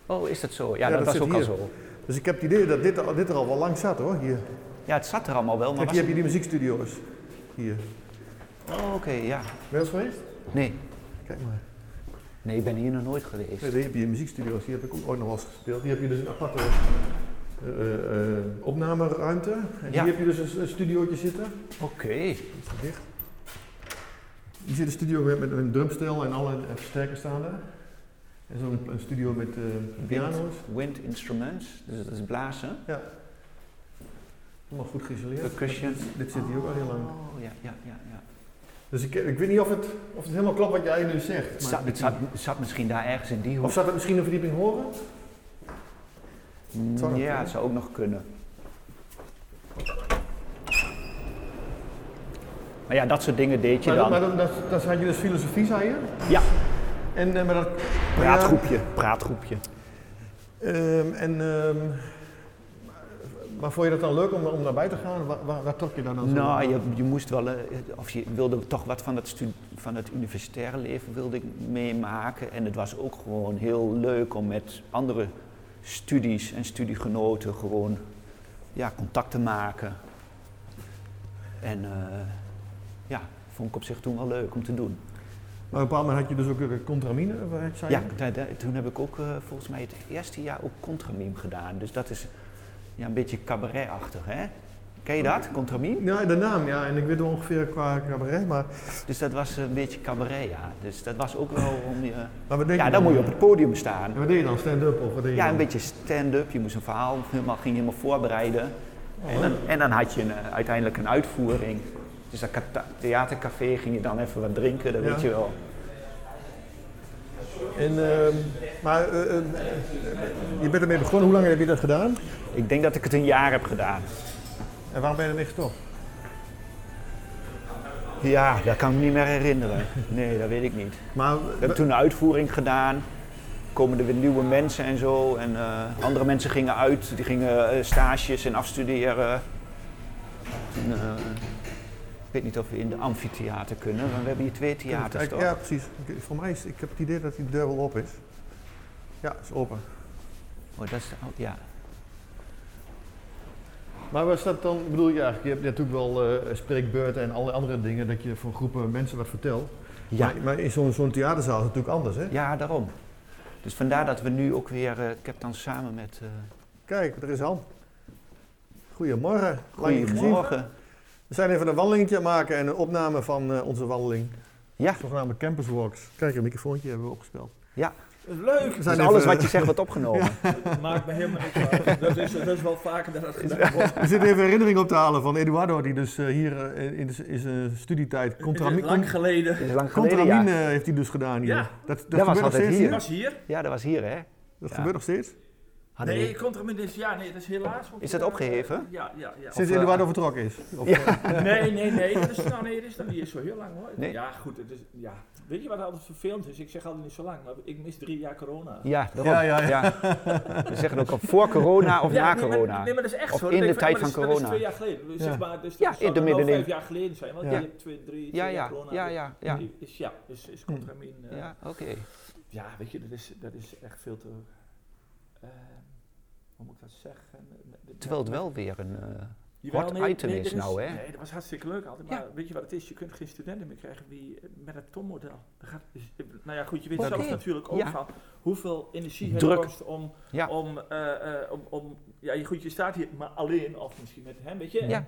Oh, is dat zo? Ja,
Ja,
dat,
dat
was
zit
ook al
hier.
zo.
Dus ik heb het idee dat dit, al- dit er al wel lang zat hoor. Hier.
Ja, het zat er allemaal wel, maar
Kijk,
was
hier heb je die muziekstudio's. Hier.
Oh, oké, ja.
Ben je dat geweest?
Nee.
Kijk maar.
nee, ik ben hier nog nooit geweest.
Ja, hier heb je muziekstudio's, hier heb ik ook ooit nog wel eens gespeeld. Hier heb je dus een aparte eh, eh, opnameruimte. En
Ja.
hier heb je dus een, een studiootje zitten.
Oké.
Is dat dicht? Hier zit een studio met, met een drumstel en alle eh, versterkers staan er. En zo'n een studio met eh, piano's.
Wind instruments, dus dat is blazen.
Ja. Allemaal goed geïsoleerd.
Percussion.
Dit, dit zit hier ook al heel lang.
Oh, ja, ja, ja. ja.
Dus ik, ik weet niet of het, of het helemaal klopt wat jij nu zegt.
Het,
maar-
zat, het zat, het zat misschien daar ergens in die hoek.
Of zat het misschien een verdieping horen?
Mm,
zou dat
ja,
kunnen?
het zou ook nog kunnen. Maar ja, dat soort dingen deed je
Maar, dat-
dan.
maar dat, dat, dat had je dus filosofie, zei je?
Ja.
En, eh, maar dat,
Praatgroepje, praatgroepje.
Ehm, en, ehm, maar vond je dat dan leuk om, om daarbij te gaan? Waar, waar, waar trok je daar dan zo aan?
Nou, je, je moest wel, eh, of je wilde toch wat van het, stu- van het universitaire leven wilde ik meemaken. En het was ook gewoon heel leuk om met andere studies en studiegenoten gewoon ja, contact te maken. En eh, ja, vond ik op zich toen wel leuk om te doen.
Maar op een bepaald moment had je dus ook de contramine, waar het zei
Ja,
je?
da- da- toen heb ik ook eh, volgens mij het eerste jaar ook contramime gedaan. Dus dat is ja, een beetje cabaretachtig, hè? Ken je dat, contramime?
Ja, de naam, ja. En ik weet wel ongeveer qua cabaret, maar,
Dus dat was een beetje cabaret, ja. Dus dat was ook wel om je...
maar wat denk
Ja,
je
dan moet je op het podium staan.
En wat deed je dan? Stand-up of wat deed je
Ja,
dan?
een beetje stand-up. Je moest een verhaal helemaal, ging je helemaal voorbereiden.
Oh,
En dan, en dan had je een, eh, uiteindelijk een uitvoering. Dus dat kata- theatercafé ging je dan even wat drinken, dat
Ja.
weet je wel.
En, ehm, maar eh, eh, eh, je bent ermee begonnen. Hoe lang heb je dat gedaan?
Ik denk dat ik het een jaar heb gedaan.
En waarom ben je ermee gestopt?
Ja, dat kan ik me niet meer herinneren. Nee, dat weet ik niet.
Maar,
We hebben toen een uitvoering gedaan. Komen er weer nieuwe mensen en zo. En eh, andere mensen gingen uit, die gingen eh, stages en afstuderen. Toen, eh, ik weet niet of we in de amfitheater kunnen, want we hebben hier twee theaters toch?
ja, precies. Ik- Voor mij is, ik heb het idee dat die deur wel op is. Ja, is open.
Oh, dat is, oh, ja.
Maar was dat dan, bedoel je eigenlijk, je hebt natuurlijk wel eh, spreekbeurten en alle andere dingen, dat je voor groepen mensen wat vertelt.
Ja,
Maar, maar in zo'n zo'n theaterzaal is het natuurlijk anders, hè?
ja, daarom. Dus vandaar dat we nu ook weer, eh, ik heb dan samen met... eh
Kijk, er is Han. Goedemorgen. Lang niet gezien.
Goedemorgen.
We zijn even een wandelingetje aan het maken en een opname van eh, onze wandeling.
Ja.
Zogenaamde campuswalks. Kijk, een microfoontje hebben we opgespeld.
Leuk!
We
Dus
even-
alles wat je zegt wordt opgenomen.
Dat maakt me helemaal niks uit. Dat is, dat is wel vaker dan dat gedaan wordt.
We zitten even herinnering op te halen van Eduardo, die dus eh, hier eh, in, de- in zijn studietijd
Het is
contrami
Lang geleden.
Dat is lang geleden, ja.
contramine heeft hij dus gedaan hier.
Ja.
Dat, dat,
was
gebeurt nog
altijd
steeds
hier.
Ik was hier.
Ja, dat was hier, hè?
Dat
Ja.
gebeurt nog steeds.
Hadden
Nee,
we-
komt er met dit Ja, nee, dat is helaas. want-
Is dat opgeheven?
Ja, ja, ja.
Sinds
eh,
Eduardo vertrokken is. Of, eh,
Nee, nee, nee. Dat is, nou, nee, dat is dan niet eens zo heel lang hoor.
Nee.
Ja, goed. Het is, ja. Weet je wat altijd vervelend is? Ik zeg altijd niet zo lang, maar ik mis drie jaar corona.
Ja, daarom.
Ja, ja, ja.
We zeggen ook al voor corona of
Ja,
na
nee, maar-
corona.
nee, maar dat is echt
Of
zo.
in
Dan
de
denk ik
tijd
maar dat
van
is-
corona.
Dat is twee jaar geleden. Dus
Ja.
zeg maar, dus
Ja,
dat
in
zou
de
dan wel
middenin.
vijf jaar geleden zijn, want
Ja.
je hebt twee, drie,
ja,
twee jaar
ja,
corona.
ja, ja, ja. Hm.
Is, ja, dus is contramin. eh,
Ja, oké.
Ja, weet je, dat is, dat is echt veel te. eh, hoe moet ik dat zeggen?
Terwijl het
wel
wel weer een... eh,
Jawel,
Hot item
dat
is nou, hè?
Nee, dat was hartstikke leuk altijd. Maar
Ja.
weet je wat het is? Je kunt geen studenten meer krijgen die, eh, met het tommodel. Dat gaat- is- eh, Nou ja, goed, je weet
Oké.
zelf natuurlijk ook
Ja.
van hoeveel energie het
Druk.
kost om...
Ja.
om, eh, eh, om, om ja, je- goed, je staat hier maar alleen of misschien met hem, weet je?
Ja.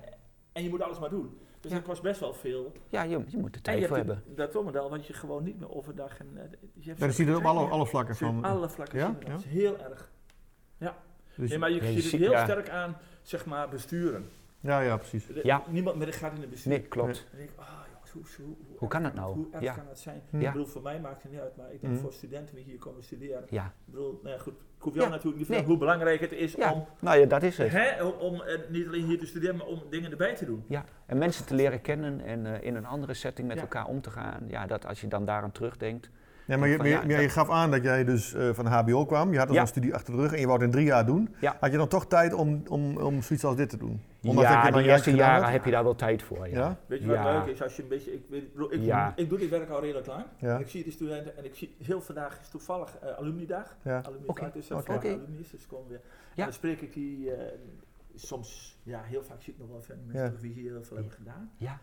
En je moet alles maar doen. Dus
Ja.
dat kost best wel veel.
ja, je, je moet er
en
tijd
je
voor
hebt
hebben.
de- dat tommodel, want je gewoon niet meer overdag... En, eh, je hebt
ja, dat zie je op alle, alle vlakken
Van,
van.
alle vlakken
Ja?
zien we dat.
Ja.
Dat is heel erg.
Dus,
Nee, maar je,
Ja, je
ziet het
ziet-
heel
ja.
sterk aan, zeg maar, besturen.
ja, ja, precies.
De-
Ja.
Niemand meer gaat in de bestuur.
Nee, klopt.
Dan denk ik, ah jongens, hoe, hoe, hoe,
Hoe kan dat nou?
Hoe erg
Ja.
kan dat zijn?
Hm.
Ik
Ja.
bedoel, voor mij maakt het niet uit, maar ik denk
Mhm.
voor studenten die hier komen studeren.
Ja.
Ik bedoel, nou ja, goed, ik hoef jou
Ja,
natuurlijk niet te vragen
nee.
hoe belangrijk het is
Ja.
om,
Nou ja, dat is het.
hè, om- om eh, niet alleen hier te studeren, maar om dingen erbij te doen.
Ja, en mensen te leren kennen en eh, in een andere setting met
Ja.
elkaar om te gaan. Ja, dat als je dan daaraan terugdenkt.
Nee, maar je,
Van,
maar je-
ja,
maar je gaf aan dat jij dus eh, van de HBO kwam. Je had dus
Ja.
een studie achter de rug en je wou het in drie jaar doen.
Ja.
Had je dan toch tijd om, om, om zoiets als dit te doen? Ondanks dat je
ja,
dan
de
juist
eerste
gedaan
jaren
had?
heb je daar wel tijd voor. Ja.
Ja?
Weet je wat
Ja.
leuk is? Als je een beetje, ik, weet- ik, bedoel, ik,
Ja.
ik doe dit werk al redelijk lang.
Ja.
Ik zie de studenten en ik zie heel vandaag is toevallig eh alumni-dag.
Ja.
Alumni
Oké,
dag, dus dat
oké.
voor
Oké.
alumni is, dus komen weer.
Ja.
En dan spreek ik die eh, soms, ja, heel vaak zie ik nog wel van die mensen
Ja.
terug die hier heel veel hebben gedaan.
Ja.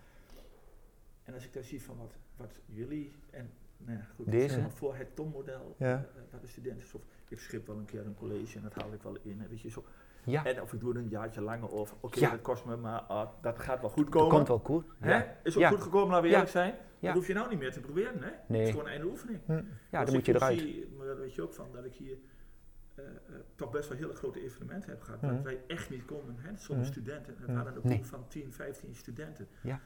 En als ik dan zie van wat, wat jullie en nou ja, goed,
Deze?
zeg maar voor het TOM-model,
Ja.
eh, wat de studenten, of ik schip wel een keer een college en dat haal ik wel in, hè, weet je zo.
Ja,
En of ik doe er een jaartje langer of, oké,
Ja.
dat kost me, maar ah, dat gaat wel goed
dat
komen.
komt wel goed.
Hè?
Ja,
Is ook
Ja.
goed gekomen, laten we
Ja.
eerlijk zijn.
Ja.
Dat hoef je nou niet meer te proberen, hè? Het is
nee.
gewoon een einde oefening.
Hm,
ja
Dus
dan moet je
ik
eruit.
Zie, maar daar weet je ook van, dat ik hier eh, eh, toch best wel hele grote evenementen heb gehad.
Mhm.
Dat wij echt niet konden, hè, zonder
Mhm.
studenten. We
Mhm.
hadden een
Nee.
groep van 10, 15 studenten.
Ja.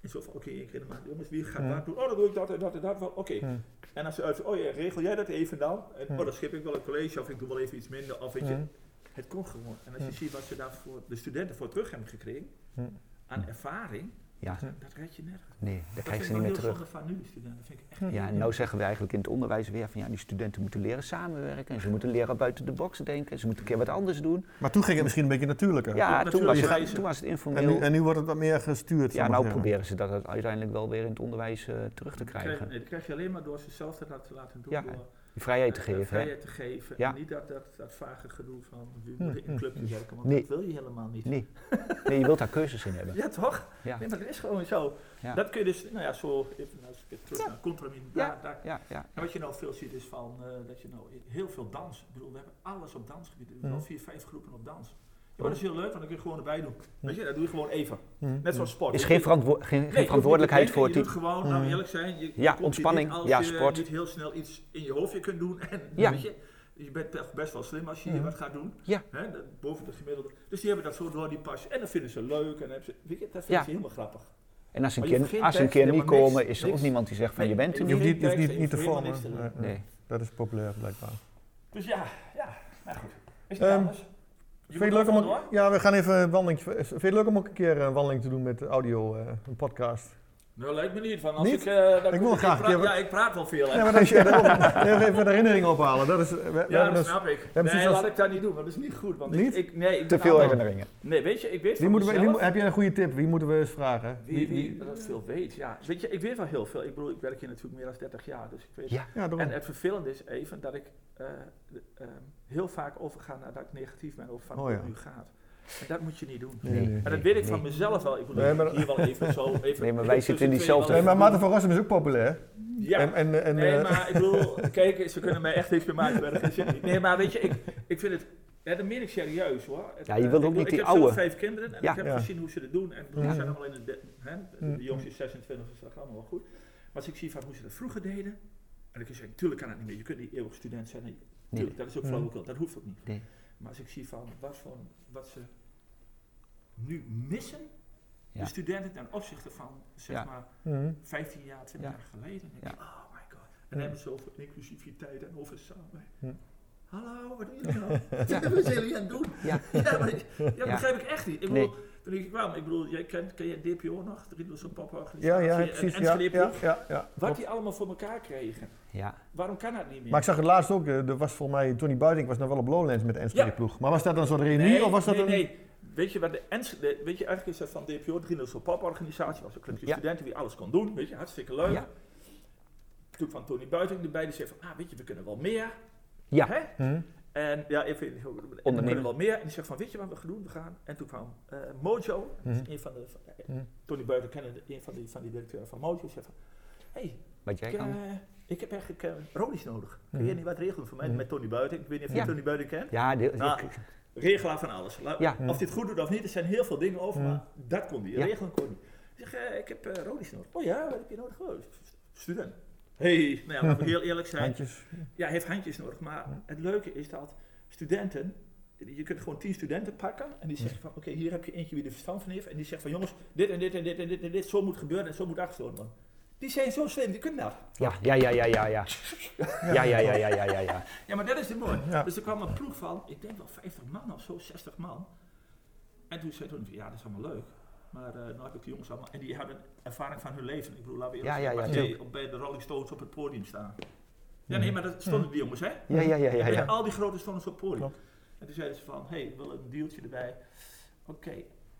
En zo van, oké, ik ken maar, jongens, wie gaat
Mhm.
wat doen? Oh, dan doe ik dat en dat en dat. wel, Oké.
Mhm.
En als ze uit, oh ja, regel jij dat even dan? En,
Mhm.
Oh, dan schip ik wel een college of ik doe wel even iets minder. Of weet je,
Mhm.
het kon gewoon. En als je
Mhm.
ziet wat ze daar voor de studenten voor terug hebben gekregen,
Mhm.
aan ervaring,
Ja,
dat red je nergens.
nee, dat
Dat
krijg je
vind ik
niet
wel
meer
heel
terug.
zonde van nu, de studenten. Dat vind ik echt
Ja, en nou zeggen we eigenlijk in het onderwijs weer van ja, die studenten moeten leren samenwerken. En ze moeten leren buiten de box denken. Ze moeten een keer wat anders doen.
Maar toen ging het misschien een beetje natuurlijker.
Ja, toen was
natuurlijk
het,
wijzen.
toen was het
En, nu,
informeel.
en nu wordt het wat meer gestuurd. zal
Ja, nou
ik maar zeggen.
proberen ze dat uiteindelijk wel weer in het onderwijs eh, terug te
Krijg-
krijgen.
nee, dat krijg je alleen maar door zichzelf dat laten- te laten doen.
Ja,
door
Die vrijheid te
eh,
geven. hè.
vrijheid te geven.
Ja.
En niet dat, dat, dat vage gedoe van we
Hm,
moeten in
hm,
clubjes werken, want
Nee.
dat wil je helemaal niet.
Nee. nee, je wilt daar keuzes in hebben.
Ja, toch?
Ja.
Nee, maar dat is gewoon zo.
Ja.
Dat kun je dus, nou ja, zo even als ik het terug
Ja.
naar Contramin.
Ja.
daar- daar-
Ja, ja.
En wat je nou veel ziet is van, eh, dat je nou i- heel veel dans. Ik bedoel, we hebben alles op dansgebied. We hebben
Hm.
al vier, vijf groepen op dans.
Hm.
Ja, maar dat is heel leuk, want dan kun je gewoon erbij doen. Weet je, dat doe je gewoon even.
Mhm.
Net zoals sport.
Hm. Is
Weet
geen,
je,
verantwo- geen- geen,
Nee,
verantwoordelijkheid
je
voor
hoeft
het
niet
team.
te denken, Je doet gewoon, nou
Mm.
eerlijk zijn. Je, je
Ja,
komt hier
ontspanning.
niet Als
Ja,
je
sport.
niet heel snel iets in je hoofdje kunt doen. En,
Ja.
weet je, je bent toch best wel slim als je hier
Mhm.
wat gaat doen.
Ja.
Hè, dat- boven de gemiddelde. Dus die hebben dat zo door die pas. En dat vinden ze leuk. En dan hebben ze, weet je, dat vinden
Ja.
ze helemaal grappig.
En als ze een
Maar je
keer,
vergeet
als ze een
echt
keer niet
helemaal niks,
komen, is er ook
niks.
niemand die zegt van je
Nee,
bent er
Je
niet.
hoeft niet, je hoeft
Geen
niet,
tekst,
niet te
je hoeft helemaal
vormen.
niks te doen.
Nee, nee.
Nee.
Dat is populair blijkbaar.
Dus ja, ja. Nou goed. Is niet
Ehm,
anders. Je
Vind je
moet
het leuk om
ook
ook,
door.
ja, we gaan even een wandeling. Vind je het leuk om ook een keer een wandeling te doen met audio, eh, een podcast?
Nou, lijkt me niet. Van als
Niet?
ik, eh, dat
Ik wil graag een
praat-
keer-
Ja, ik praat wel veel. hè.
Ja, maar als je daarom- even de herinnering ophalen. Dat is, we, we
Ja,
hebben
dat
dus-
snap ik.
hebben
Nee,
zoiets
laat
als-
ik dat niet doen. Want dat is niet goed. Want ik-
Niet?
Ik, nee, ik
Te
ben
veel
allemaal-
herinneringen.
Nee, weet je, ik weet
wie
van
moeten we, die
mezelf-
moet- heb je een goede tip? Wie moeten we eens vragen?
Wie, wie dat veel weet, ja. Weet je, ik weet wel heel veel. Ik bedoel, ik werk hier natuurlijk meer dan 30 jaar, dus ik weet...
Ja.
Ja, daarom.
En het vervelende is even dat ik eh, de- ehm, heel vaak overga naar dat ik negatief ben over van
Oh
hoe
ja.
het nu gaat. En dat moet je niet doen.
Nee, nee.
En dat weet ik van
nee.
mezelf wel. Ik bedoel,
Nee,
ik
maar-
hier wel even zo... Even
Nee, maar wij zitten in diezelfde-
Nee, maar Maarten van Rossum is ook populair.
Ja,
En, en, en,
nee,
eh,
maar ik bedoel, kijk, ze kunnen mij echt niks meer maken. maar dat is het niet. Nee, maar weet je, ik, ik vind het... Ja, dat meen ik serieus hoor. Het-
Ja, je
eh,
wilt
ik
ook
bedoel,
niet die
Ik heb zelf
oude.
vijf kinderen en
Ja.
ik heb
Ja.
gezien hoe ze dat doen. En ik bedoel,
Ja.
ze zijn allemaal in de, de- hè, de,
Mm.
de jongste is 26, dus dat gaat allemaal wel goed. Maar als ik zie van hoe ze dat vroeger deden. En ik zeg, natuurlijk kan dat niet meer. Je kunt niet eeuwig student zijn. en- Tuurlijk, dat is ook
Mm.
flauwekul. Dat hoeft ook niet.
Nee.
Maar als ik zie van wat, voor, wat ze nu missen,
Ja.
de studenten ten opzichte van, zeg
Ja.
maar,
mhm.
15 jaar, 20
Ja.
jaar geleden. En ik
Ja.
denk, oh my god. En
Hmm.
hebben ze over inclusiviteit en over samenwerking.
Hmm.
Hallo, wat doen jullie nou? Wat zijn jullie aan het doen?
Ja.
Ja, maar, ik- ja, dat begrijp ik echt niet. Ik
Nee.
bedoel, toen ik kwam, ik bedoel, jij kent, ken jij DPO nog? De Riedelse Poporganisatie
Ja, ja,
en
precies. Ja,
Enschede
ja,
Ploeg.
ja, ja.
Wat die allemaal voor elkaar kregen.
Ja.
Waarom kan dat niet meer?
Maar ik zag het laatst ook, eh, er was voor mij, Tony Buiting was nog wel op Lowlands met de Enschede
Ja.
ploeg. Maar was dat dan zo'n reunie of was dat
nee,
een...
nee. Weet je, wat de Enschede, weet je, eigenlijk is dat van DPO, de Riedelse Poporganisatie, was een clubje
Ja.
studenten die alles kon doen. Weet je, hartstikke leuk.
Ja.
Toen kwam Tony Buiting erbij, die zei van, ah, weet je, we kunnen wel meer.
Ja.
Hè?
Hm?
En ja, even en er
Ondernemer.
kunnen wel meer. En die zegt van, weet je wat we gaan doen? We gaan. En toen kwam eh, Mojo, dat is
Mhm.
een van de, van- eh,
Mhm.
Tony Buiten kennen, een van die, van die directeuren van Mojo, zegt van, hé, hey,
Wat jij
ik,
kan.
eh, ik heb eigenlijk eh rolies nodig. Kun
Mhm.
je niet wat regelen voor mij
Mhm.
met Tony Buiten? Ik weet niet of
Ja.
je Tony Buiten kent.
Ja, dit-
Nou,
ik-
Regelaar van alles. La-
Ja.
Of dit goed doet of niet, er zijn heel veel dingen over,
Mhm.
maar dat kon hij.
Ja.
Regelen kon hij. Ik zeg, eh, ik heb eh rolies nodig. Oh ja, wat heb je nodig? Oh, st- student. Hé, hey, nou ja, laten we heel eerlijk zijn
Handjes.
ja, heeft handjes nodig. Maar het leuke is dat studenten, je kunt gewoon tien studenten pakken en die zeggen van, oké, hier heb je eentje die er verstand van heeft. En die zegt van, jongens, dit en dit en dit en dit en dit, zo moet gebeuren en zo moet afgestoten worden. Die zijn zo slim, die kunnen dat.
Ja, ja, ja, ja, ja, ja. Ja, ja, ja, ja, ja, ja, ja.
Ja, maar dat is het mooi.
Ja.
Dus er kwam een ploeg van, ik denk wel 50 man of zo, 60 man. En toen zei toen, ja, dat is allemaal leuk. Maar eh nou heb ik de jongens allemaal, en die hadden ervaring van hun leven. Ik bedoel, laten we eerlijk
Ja, ja,
zeggen,
ja,
als jij
tuurlijk.
op- bij de Rolling Stones op het podium staan. Ja, nee, maar dat stonden die jongens, hè?
Ja, ja, ja, ja,
En
ja.
Al die grote stonden op het podium.
Klopt.
En toen zeiden ze van, hé, hey, we willen een deeltje erbij. Oké,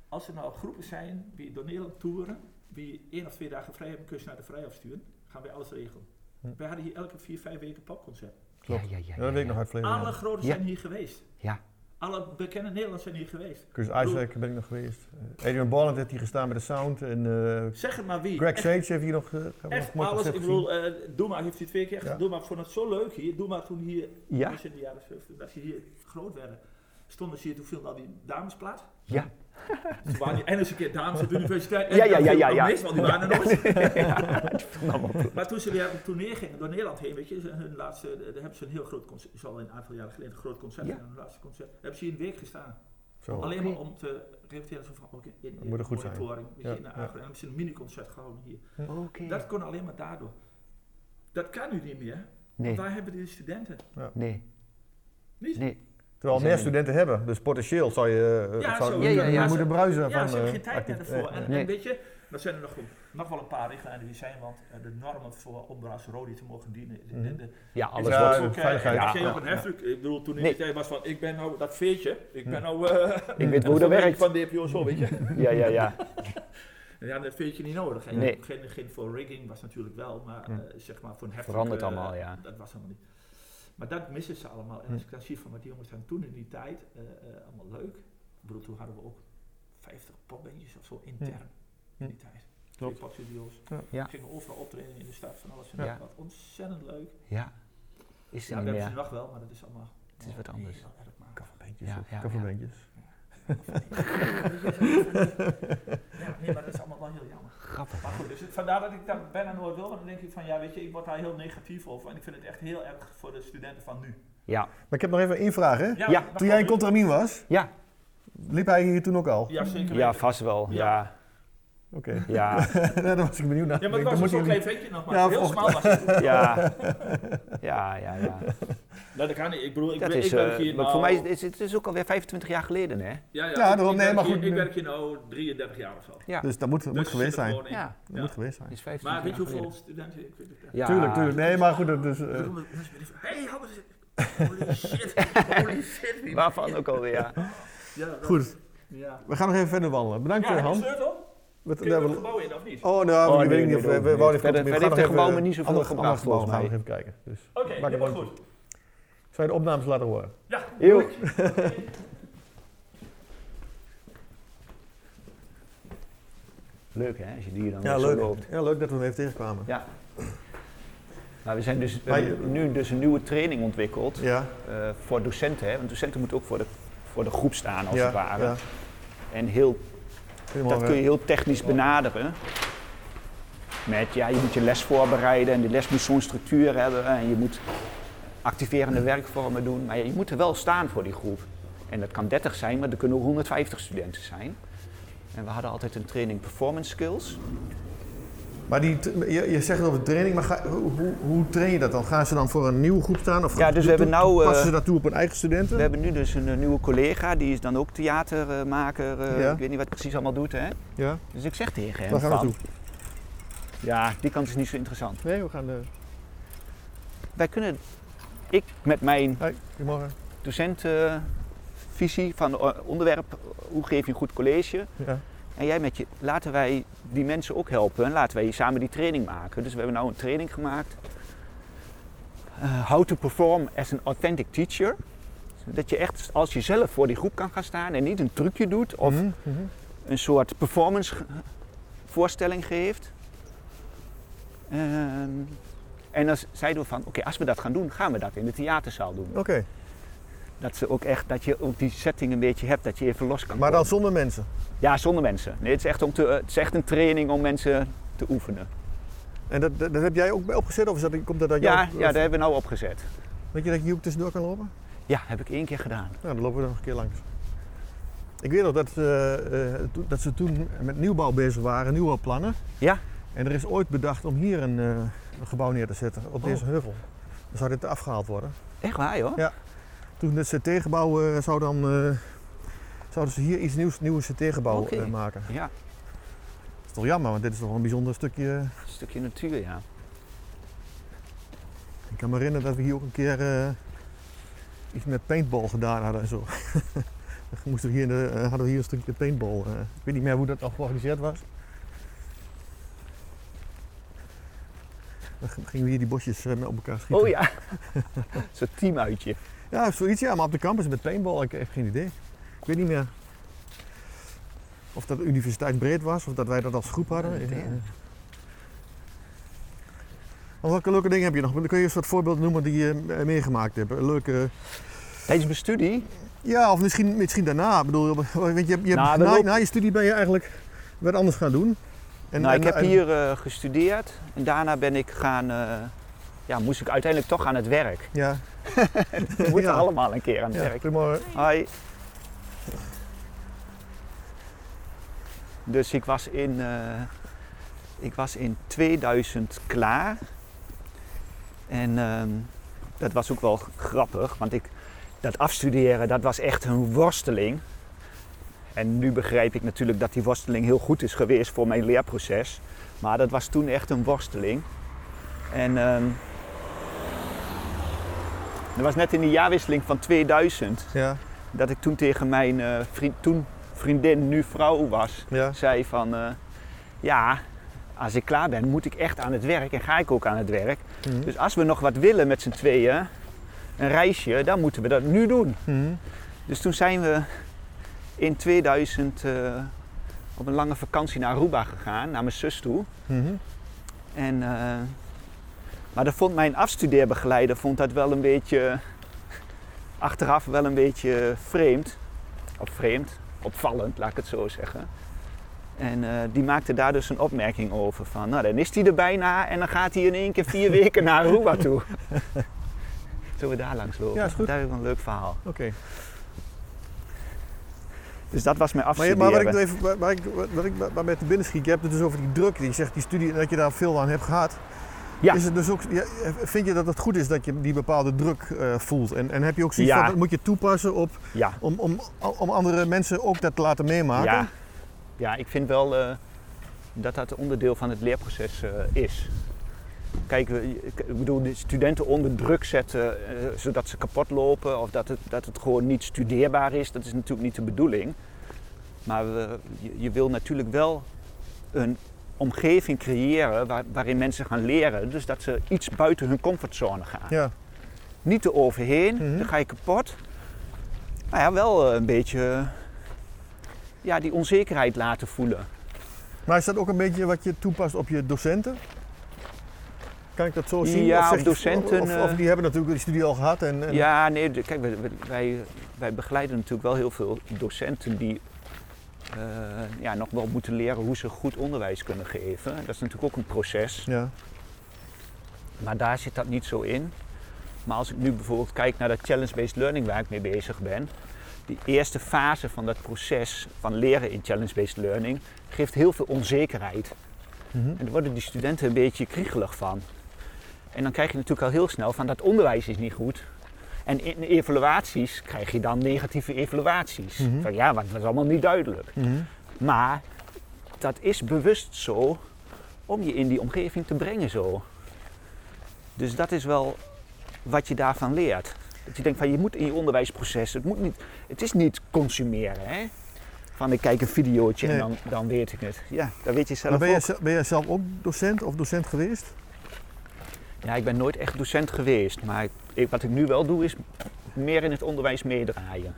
als er nou groepen zijn die door Nederland toeren, die één of twee dagen vrij hebben, kun je ze naar de vrijaf sturen. Gaan wij alles regelen.
Hm.
Wij hadden hier elke vier, vijf weken een popconcert.
Ja,
Klopt.
ja, ja.
Ja, dat weet ik nog uit het verleden.
Alle
ja.
grote
eh, Ja.
zijn hier geweest.
Ja.
Alle bekende Nederlanders zijn hier geweest.
Kus IJswijk ben ik nog geweest. Eh, Adrian Bolland heeft hier gestaan bij de sound. En eh,
Zeg het maar wie.
Greg
Echt-
Sage heeft hier nog, eh, hebben we nog
Echt
een mooi
alles,
concert
ik
gezien.
bedoel, eh Doe maar heeft hij twee keer
Ja.
gedaan. Doe maar vond het zo leuk hier. Doe maar toen hier,
Ja,
was in de jaren 70, dat ze hier groot werden. Stonden ze hier, toen viel al die dames plat.
ja.
Ze waren die eindelijk een keer dames op de universiteit.
Ja, ja,
dat
ja,
viel
ja,
nog
ja.
mis, want die waren er nooit.
Nou, maar-
Maar toen ze weer op tournee gingen door Nederland heen, weet je, ze- hun laatste, eh, daar hebben ze een heel groot concert, is al een aantal jaren geleden, een groot concert,
Ja.
gedaan, hun laatste concert. Daar hebben ze hier een week gestaan.
Zo.
Alleen maar om te reflecteren zo van, oké, in,
Moet er goed zijn.
monitoring, weet je,
Ja,
in de
ja.
agro. En dan hebben ze een miniconcert gehouden hier.
Oké.
Dat kon alleen maar daardoor. Dat kan nu niet meer. want
Nee,
Waar hebben die studenten?
nee.
Niet?
Nee.
Terwijl
Zijn
meer
er-
studenten hebben. Dus potentieel zou je, eh,
Ja,
zou
zo.
je
Ja, ja,
kunnen
ja.
moeten bruisen
Ja,
van...
ze hebben
eh,
geen tijd meer
actief-
ervoor. En, en
Nee.
weet je, dan zijn er nog, nog wel een paar richtlijnen die zijn, want eh, de normen voor om als rode te mogen dienen. de- de-
Mhm.
de-
Ja,
is
alles
Ja,
wordt...
ook, eh,
veiligheid.
als
Ja,
jij op
ja,
een heftruck, ik bedoel, toen ik
Nee.
die tijd was van, ik ben nou dat veertje, ik
Mhm.
ben nou... eh,
Ik weet hoe dat
zo
werkt.
Van DPO zo, weet je.
Ja, ja, ja.
Ja, dat vind je niet nodig. En
Nee.
geen, geen voor rigging was natuurlijk wel, maar
Hm.
eh, zeg maar voor een heftig...
Verandert
eh,
allemaal, ja.
Dat was allemaal niet. Maar dat missen ze allemaal. En als ik dan zie van wat die jongens dan toen in die tijd, eh, eh, allemaal leuk. Ik bedoel, toen hadden we ook 50 popbandjes of zo intern
Hm.
in die tijd.
Klopt.
Twee popstudio's.
Ja.
Ja.
Gingen overal optreden in de stad van alles en
Ja.
nog wat. Ontzettend leuk.
Ja. Is
Ja,
het
dat
niet
hebben ze
meer.
nog wel, maar dat is allemaal...
Het is wat anders.
heel erg maar.
Kafferbeentjes.
Ja,
hoor.
ja, ja.
Kafferbeentjes.
Ja, nee, maar dat is allemaal wel heel jammer.
Grappig.
Maar goed, dus het- vandaar dat ik daar bijna nooit wil, want dan denk ik van ja, weet je, ik word daar heel negatief over en ik vind het echt heel erg voor de studenten van nu.
Ja.
Maar ik heb nog even één vraag, hè?
Ja,
maar
Toen jij in
goed,
Contramin was,
Ja.
liep hij hier toen ook al?
Ja, zeker.
Ja,
Ja,
vast wel. Ja.
Oké.
Ja.
Daar was ik benieuwd naar.
ja maar
Ik
het
denk, dan
was dus een zo'n
moeten
klein
jullie-
ventje nog maar.
Ja,
heel
volgens-
smal was het.
Ja. Ja, ja, ja.
Nee, dat kan niet. Ik bedoel, ik,
Dat
ben,
is...
ik werk
eh,
hier
maar
nou-
voor mij is het- het is ook alweer 25 jaar geleden, hè?
Ja, ja,
Ja,
ik-
daarom, nee,
ik, werk
maar
hier-
goed,
Ik
nu-
werk hier nou 33 jaar of zo.
Ja.
Dus dat moet,
Dus
moet
ze
geweest
zitten
zijn.
gewoon in.
Ja.
Dat
Ja.
moet geweest zijn.
Het is 25
Maar weet je
jaar
hoeveel
geleden.
studenten ik weet het echt.
Ja.
Tuurlijk, tuurlijk. Nee, maar goed, dat is... eh,
Ik bedoel, mensen willen van, Hey, Hammers, holy shit, holy shit. wie-
Waarvan ook alweer, ja.
Ja, dat-
goed,
Ja.
we gaan nog even verder wandelen. Bedankt,
Ja,
eh,
heb
Han.
je sleutel?
Wat-
Kun je
daar
het
hebben we-
gebouw in of niet?
Oh, nou,
Oh, nee,
ik weet
nee,
niet of we,
nee,
we
nee. Verder-
wouden even we
verder
gaan
heeft
nog
de
even
gebouwen niet zoveel
ander-
gebracht,
ander gebouw
volgens
gaan we
mij.
nog even kijken. Dus
Oké,
maak het
helemaal
wel-
goed.
Zou je de opnames laten horen?
Ja.
Heel. Leuk hè, als je die dan zo loopt.
Ja, leuk dat we hem even tegenkwamen.
Ja. Maar we, zijn dus, we
Maar je-
hebben nu dus een nieuwe training ontwikkeld
Ja,
eh, voor docenten. Hè? Want docenten moeten ook voor de, voor de groep staan als
ja,
het ware.
ja.
En heel,
Helemaal,
dat kun je
eh,
heel technisch benaderen. Met ja, je moet je les voorbereiden en die les moet zo'n structuur hebben. En je moet activerende werkvormen doen. Maar ja, je moet er wel staan voor die groep. En dat kan 30 zijn, maar er kunnen ook 150 studenten zijn. En we hadden altijd een training performance skills.
Maar die, t- je, je zegt over training, maar ga- hoe, hoe- hoe train je dat dan? Gaan ze dan voor een nieuwe groep staan? Of
Ja, dus we
toe-
hebben
toe-
nou, eh,
Passen ze dat toe op hun eigen studenten?
We hebben nu dus een eh, nieuwe collega, die is dan ook theatermaker. eh,
Ja.
Ik weet niet wat het precies allemaal doet, hè?
ja,
Dus ik zeg tegen hem
waar gaan we
van,
naartoe?
ja, die kant is niet zo interessant.
Nee, we gaan... eh
Wij kunnen, ik met mijn
hey, goedemorgen.
docentenvisie van eh, onderwerp, hoe geef je een goed college?
Ja.
En jij met je, laten wij die mensen ook helpen en laten wij samen die training maken. Dus we hebben nou een training gemaakt. Eh, how to perform as an authentic teacher. Dat je echt als jezelf voor die groep kan gaan staan en niet een trucje doet of
Mhm, mhm.
een soort performance ge- voorstelling geeft. Ehm, en dan z- zeiden we van, oké, als we dat gaan doen, gaan we dat in de theaterzaal doen.
Oké,
Dat, ze ook echt, dat je ook die setting een beetje hebt, dat je even los kan
maar dan
komen.
zonder mensen.
Ja, zonder mensen. Nee, het, is echt om te, het is echt een training om mensen te oefenen.
En dat, dat, dat heb jij ook bij opgezet? Of is dat, komt dat uit
Ja,
jou?
ja, daar hebben we nou opgezet.
Weet je dat je hier ook tussendoor kan lopen?
Ja, heb ik één keer gedaan.
Nou, dan lopen we er nog een keer langs. Ik weet nog dat, eh, eh, to- dat ze toen met nieuwbouw bezig waren, nieuwbouwplannen.
Ja.
En er is ooit bedacht om hier een, eh, een gebouw neer te zetten, op
Oh.
deze heuvel. Dan zou dit afgehaald worden.
Echt waar, joh?
Ja. Toen het CT-gebouw eh, zou dan, eh, zouden ze hier iets nieuws, nieuwe CT-gebouw
Oké.
maken.
Ja,
Dat is toch jammer, want dit is toch wel een bijzonder stukje. eh,
een stukje natuur, ja.
Ik kan me herinneren dat we hier ook een keer eh, iets met paintball gedaan hadden en zo. Dan Moesten we hier, in de- eh, hadden we hier een stukje paintball. eh. ik weet niet meer hoe dat al georganiseerd was. Dan g- gingen we hier die bosjes eh, met op elkaar schieten.
Oh ja, zo'n teamuitje.
Ja, zoiets ja, maar op de campus met paintball, ik heb geen idee. Ik weet niet meer of dat universiteit breed was of dat wij dat als groep hadden.
Ja,
Eh,
dat, ja.
eh. Maar welke leuke dingen heb je nog? Kun je eens wat voorbeelden noemen die je eh, meegemaakt hebt? Een Leuke...
Tijdens mijn studie
Ja, of misschien, misschien daarna. Ik bedoel, weet je, je, hebt- je
Nou,
hebt,
dat
na,
ook.
na je studie ben je eigenlijk wat anders gaan doen. En-
nou,
en-
ik heb
en-
hier eh, gestudeerd en daarna ben ik gaan, eh, ja, moest ik uiteindelijk toch aan het werk.
Ja,
We moeten
Ja.
allemaal een keer aan het
ja
werk.
goedemorgen.
Hoi. Dus ik was, in, eh, ik was in 2000 klaar. En ehm, dat was ook wel grappig, want ik, dat afstuderen dat was echt een worsteling. En nu begrijp ik natuurlijk dat die worsteling heel goed is geweest voor mijn leerproces. Maar dat was toen echt een worsteling. En ehm, dat was net in de jaarwisseling van 2000
Ja,
dat ik toen tegen mijn eh, vriend, toen vriendin, nu vrouw was,
ja.
zei van eh, ja, als ik klaar ben moet ik echt aan het werk en ga ik ook aan het werk.
Mhm.
Dus als we nog wat willen met z'n tweeën, een reisje, dan moeten we dat nu doen.
Mhm.
Dus toen zijn we in 2000 eh, op een lange vakantie naar Aruba gegaan, naar mijn zus toe.
Mhm.
En, eh, maar dat vond mijn afstudeerbegeleider vond dat wel een beetje achteraf wel een beetje vreemd. Of vreemd, opvallend, laat ik het zo zeggen. En eh, die maakte daar dus een opmerking over van, nou dan is hij er bijna en dan gaat hij in één keer vier weken naar Aruba toe. Zullen we daar langs lopen?
Ja, is goed.
Daar heb ik wel een leuk verhaal.
Oké.
Dus dat was mijn
Maar, je-
afstuderen.
maar wat ik nog even, waar, waar ik, wat ik waar mij te binnen schiet, je hebt het dus over die druk, die zegt die studie, en dat je daar veel aan hebt gehad.
Ja.
Is het dus ook, ja, vind je dat het goed is dat je die bepaalde druk eh, voelt? En, en heb je ook zoiets
Ja.
van, dat moet je toepassen op,
ja.
om, om, om andere mensen ook dat te laten meemaken?
Ja, ja ik vind wel eh, dat dat onderdeel van het leerproces eh, is. Kijk, we- ik ik bedoel, de studenten onder druk zetten eh, zodat ze kapot lopen of dat het, dat het gewoon niet studeerbaar is, dat is natuurlijk niet de bedoeling. Maar we- je, je wil natuurlijk wel een omgeving creëren waar- waarin mensen gaan leren, dus dat ze iets buiten hun comfortzone gaan.
Ja.
Niet te overheen,
Mhm.
dan ga je kapot. Maar ja, wel eh, een beetje eh, ja, die onzekerheid laten voelen.
Maar is dat ook een beetje wat je toepast op je docenten? Kan ik dat zo zien?
Ja,
Of zeg
op
je-
docenten, eh,
Of, of die hebben natuurlijk die studie al gehad. En, en-
Ja, nee, de- kijk, we- we- wij, wij begeleiden natuurlijk wel heel veel docenten die eh, ja, nog wel moeten leren hoe ze goed onderwijs kunnen geven. Dat is natuurlijk ook een proces,
ja.
maar daar zit dat niet zo in. Maar als ik nu bijvoorbeeld kijk naar dat challenge-based learning waar ik mee bezig ben, die eerste fase van dat proces van leren in challenge-based learning geeft heel veel onzekerheid.
Mhm.
En daar worden die studenten een beetje kriegelig van. En dan krijg je natuurlijk al heel snel van dat onderwijs is niet goed. En in evaluaties krijg je dan negatieve evaluaties.
Mhm.
Van ja, want dat is allemaal niet duidelijk.
Mhm.
Maar dat is bewust zo om je in die omgeving te brengen zo. Dus dat is wel wat je daarvan leert. Dat je denkt van je moet in je onderwijsproces, het, moet niet, het is niet consumeren hè. Van ik kijk een videootje en
Nee.
dan, dan weet ik het. Ja, dat weet je zelf
Maar ben, jij,
ook.
ze- ben jij zelf ook docent of docent geweest?
Ja, ik ben nooit echt docent geweest, maar ik- wat ik nu wel doe is meer in het onderwijs meedraaien.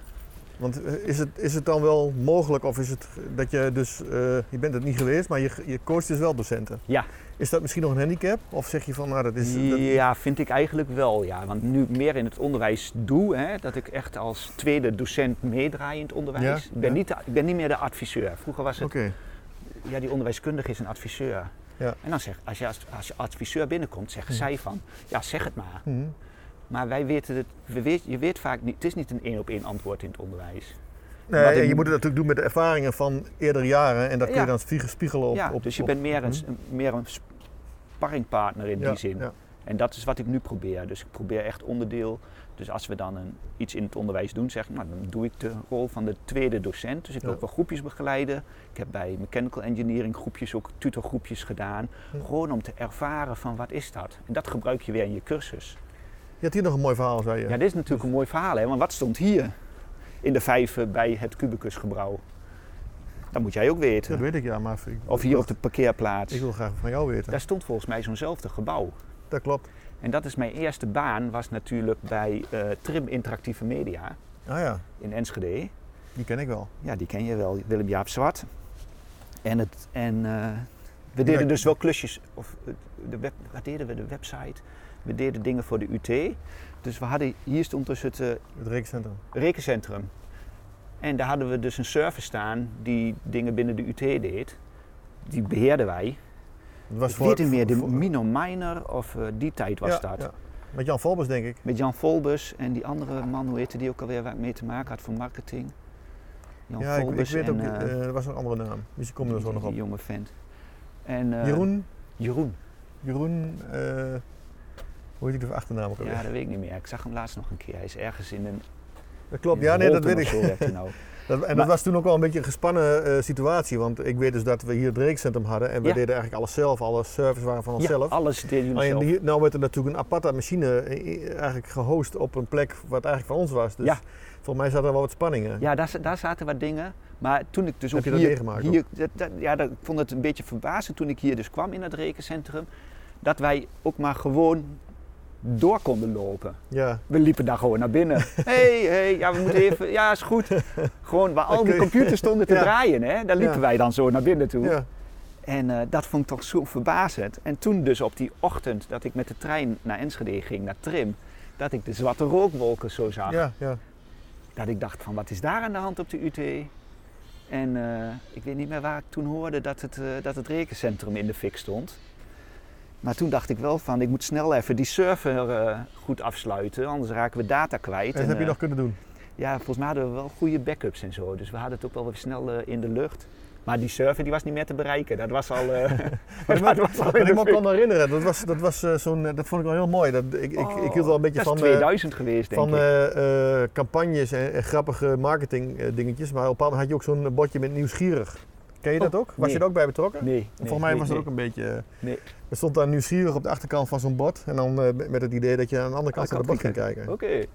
Want eh, is het, is het dan wel mogelijk of is het dat je dus, eh, je bent het niet geweest, maar je, je coacht dus wel docenten?
Ja.
Is dat misschien nog een handicap? Of zeg je van, nou dat is... dat-
Ja, vind ik eigenlijk wel, ja. Want nu ik meer in het onderwijs doe, hè, dat ik echt als tweede docent meedraai in het onderwijs.
Ja,
ik, ben
ja.
niet de- ik ben niet meer de adviseur. Vroeger was het,
Oké.
ja, die onderwijskundige is een adviseur.
Ja.
En dan zeg, als je als, als je adviseur binnenkomt, zeggen
Hm.
zij van, ja, zeg het maar.
Mhm.
Maar wij weten het, we weet, je weet vaak niet, het is niet een één op één antwoord in het onderwijs.
Nee,
Wat ik-
en je moet het natuurlijk doen met de ervaringen van eerdere jaren en dat kun je
Ja.
dan spie- spiegelen op...
ja,
op
dus je
op-
bent meer een,
Mhm.
meer een sparringpartner in
Ja,
die zin.
ja.
En dat is wat ik nu probeer. Dus ik probeer echt onderdeel. Dus als we dan een, iets in het onderwijs doen, zeg ik, nou, dan doe ik de rol van de tweede docent. Dus ik wil
Ja.
ook wel groepjes begeleiden. Ik heb bij mechanical engineering groepjes, ook tutorgroepjes gedaan.
Ja.
Gewoon om te ervaren van wat is dat. En dat gebruik je weer in je cursus.
Je had hier nog een mooi verhaal, zei je.
Ja, dit is natuurlijk een mooi verhaal, hè? want wat stond hier in de vijver bij het Cubicusgebouw? Dat moet jij ook
dat
weten.
weet ik ja, maar ik,
Of hier op de parkeerplaats.
ik wil graag van jou weten.
Daar stond volgens mij zo'nzelfde gebouw.
Dat klopt.
En dat is mijn eerste baan, was natuurlijk bij eh, Trim Interactieve Media
Ah ja,
in Enschede.
die ken ik wel.
Ja, die ken je wel, Willem-Jaap Zwart. En, het, en eh, we
Ja.
deden dus wel klusjes, of eh, de web, wat deden we, de website. We deden dingen voor de UT. Dus we hadden, hier stond dus het eh,
Het rekencentrum.
rekencentrum. En daar hadden we dus een server staan die dingen binnen de UT deed. Die beheerden wij.
Het was
Ik weet niet meer, de
voor-
Mino Miner of eh, die tijd was
Ja,
dat.
ja. Met Jan Valbers, denk ik.
Met Jan Volbus en die andere man, hoe heette die ook alweer, waar ik mee te maken had voor marketing. Jan
ja, ik, ik
Volbus
weet
en
ook,
eh,
eh, er was een andere naam. Misschien komen we er
die-
zo nog
die
op.
jonge vent. En, eh,
Jeroen,
Jeroen,
Jeroen, eh, hoe heet ik de achternaam ook alweer?
ja, dat weet ik niet meer. Ik zag hem laatst nog een keer. Hij is ergens in een.
dat klopt,
in
ja, nee, dat
Holten
weet ik.
of zo werkt hij nou.
Dat, en dat
Maar-
was toen ook wel een beetje een gespannen eh, situatie, want ik weet dus dat we hier het rekencentrum hadden en we
Ja.
deden eigenlijk alles zelf, alle servers waren van
Ja,
onszelf.
alles deed hij
Alleen
zelf.
hier, nou werd er natuurlijk een aparte machine eh, eh, eigenlijk gehost op een plek wat eigenlijk van ons was. Dus
Ja.
volgens mij zaten er wel wat spanningen.
Ja, daar, za- daar zaten wat dingen. Maar toen ik dus
Heb
ook
je dat
hier,
meegemaakt
hier dat, dat- ja, dat, ik vond het een beetje verbazend toen ik hier dus kwam in dat rekencentrum, dat wij ook maar gewoon door konden lopen.
Ja.
We liepen daar gewoon naar binnen. hey, hey, ja, we moeten even, ja, is goed. Gewoon waar al
Oké.
die computers stonden te
Ja.
draaien, hè, daar liepen
Ja.
wij dan zo naar binnen toe.
ja.
En eh, dat vond ik toch zo verbazend. En toen dus op die ochtend dat ik met de trein naar Enschede ging, naar Trim, dat ik de zwarte rookwolken zo zag.
Ja, ja.
Dat ik dacht van wat is daar aan de hand op de UT? En eh, ik weet niet meer waar ik toen hoorde dat het, eh, dat het rekencentrum in de fik stond. Maar toen dacht ik wel van ik moet snel even die server eh, goed afsluiten, anders raken we data kwijt.
En dat heb je
eh,
nog kunnen doen.
Ja, volgens mij hadden we wel goede backups en zo. Dus we hadden het ook wel weer snel eh, in de lucht. Maar die server die was niet meer te bereiken. Dat was al, eh, dat
maar-
was al in
Wat
de
ik me
fik.
kan herinneren, dat, was, dat, was, eh, zo'n, eh, dat vond ik wel heel mooi. Dat, ik, ik, ik hield wel een beetje
Oh, dat
van,
is
eh,
2000 geweest denk
van
ik.
eh, eh, campagnes en, en grappige marketing eh, dingetjes. Maar op een bepaald moment had je ook zo'n eh, bordje met nieuwsgierig. Ken je dat ook? Was
Oh, nee.
je er ook bij betrokken?
nee, nee,
eh, Volgens mij
nee,
was er
nee.
ook een beetje... eh,
Nee.
Er stond daar nieuwsgierig op de achterkant van zo'n bord. En dan eh, met met het idee dat je aan de
Ah,
andere kant van het bord ging
Achterkant
kijken.
Oké.
Ik,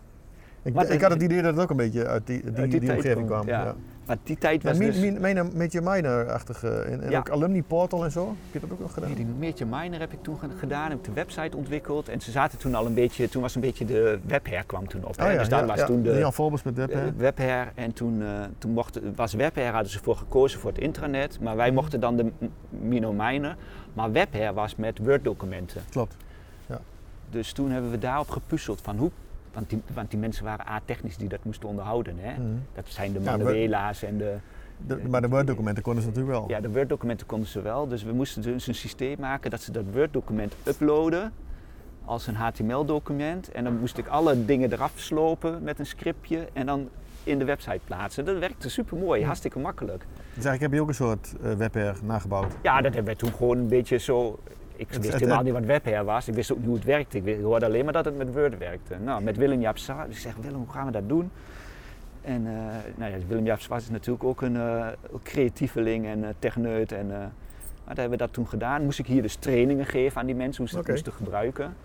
Oh, Maar
ik
de-
had het idee dat het ook een beetje uit die, die,
Uit die
die
tijd komt,
omgeving kwam.
ja.
Ja.
Maar die tijd
Ja,
was
min-
dus...
min- min- Major Minor-achtige. eh, En, en
Ja.
ook Alumni Portal en zo. Heb je dat ook nog gedaan?
Nee, die Meertje Miner heb ik toen ge- gedaan, heb ik de website ontwikkeld. En ze zaten toen al een beetje, toen was een beetje de webher kwam toen op. hè.
Oh ja,
dus daar
ja,
was
ja.
toen de,
Jan Volbers met Web,
eh,
hè?
webher. En toen, eh, toen mochten, was webher, hadden ze voor gekozen voor het intranet. Maar
Mhm.
wij mochten dan de M- Mino Miner. Maar webher was met Word documenten.
Klopt.
Dus toen hebben we daarop gepuzzeld van hoe... Want die, want die mensen waren A-technisch die dat moesten onderhouden. Hè?
Mhm.
Dat zijn de
Ja, we-
manuela's en de...
De- maar de Word-documenten konden ze natuurlijk wel.
Ja, de Word-documenten konden ze wel. Dus we moesten dus een systeem maken dat ze dat Word-document uploaden als een HTML-document. En dan moest ik alle dingen eraf slopen met een scriptje. En dan in de website plaatsen. Dat werkte super mooi, hartstikke makkelijk.
Dus eigenlijk heb je ook een soort eh webberg nagebouwd.
Ja, dat hebben wij toen gewoon een beetje zo. Ik wist
het-
helemaal
het-
niet wat webher was. Ik wist ook niet hoe het werkte. Ik wist- ik hoorde alleen maar dat het met Word werkte. Nou, met Willem Jaap Zwaar. Ik zeg, Willem, hoe gaan we dat doen? En eh, nou ja, Willem Jaap Zwaar is natuurlijk ook een eh, creatieveling en eh, techneut. En, eh, maar daar hebben we dat toen gedaan. Moest ik hier dus trainingen geven aan die mensen hoe ze het
Oké.
moesten gebruiken.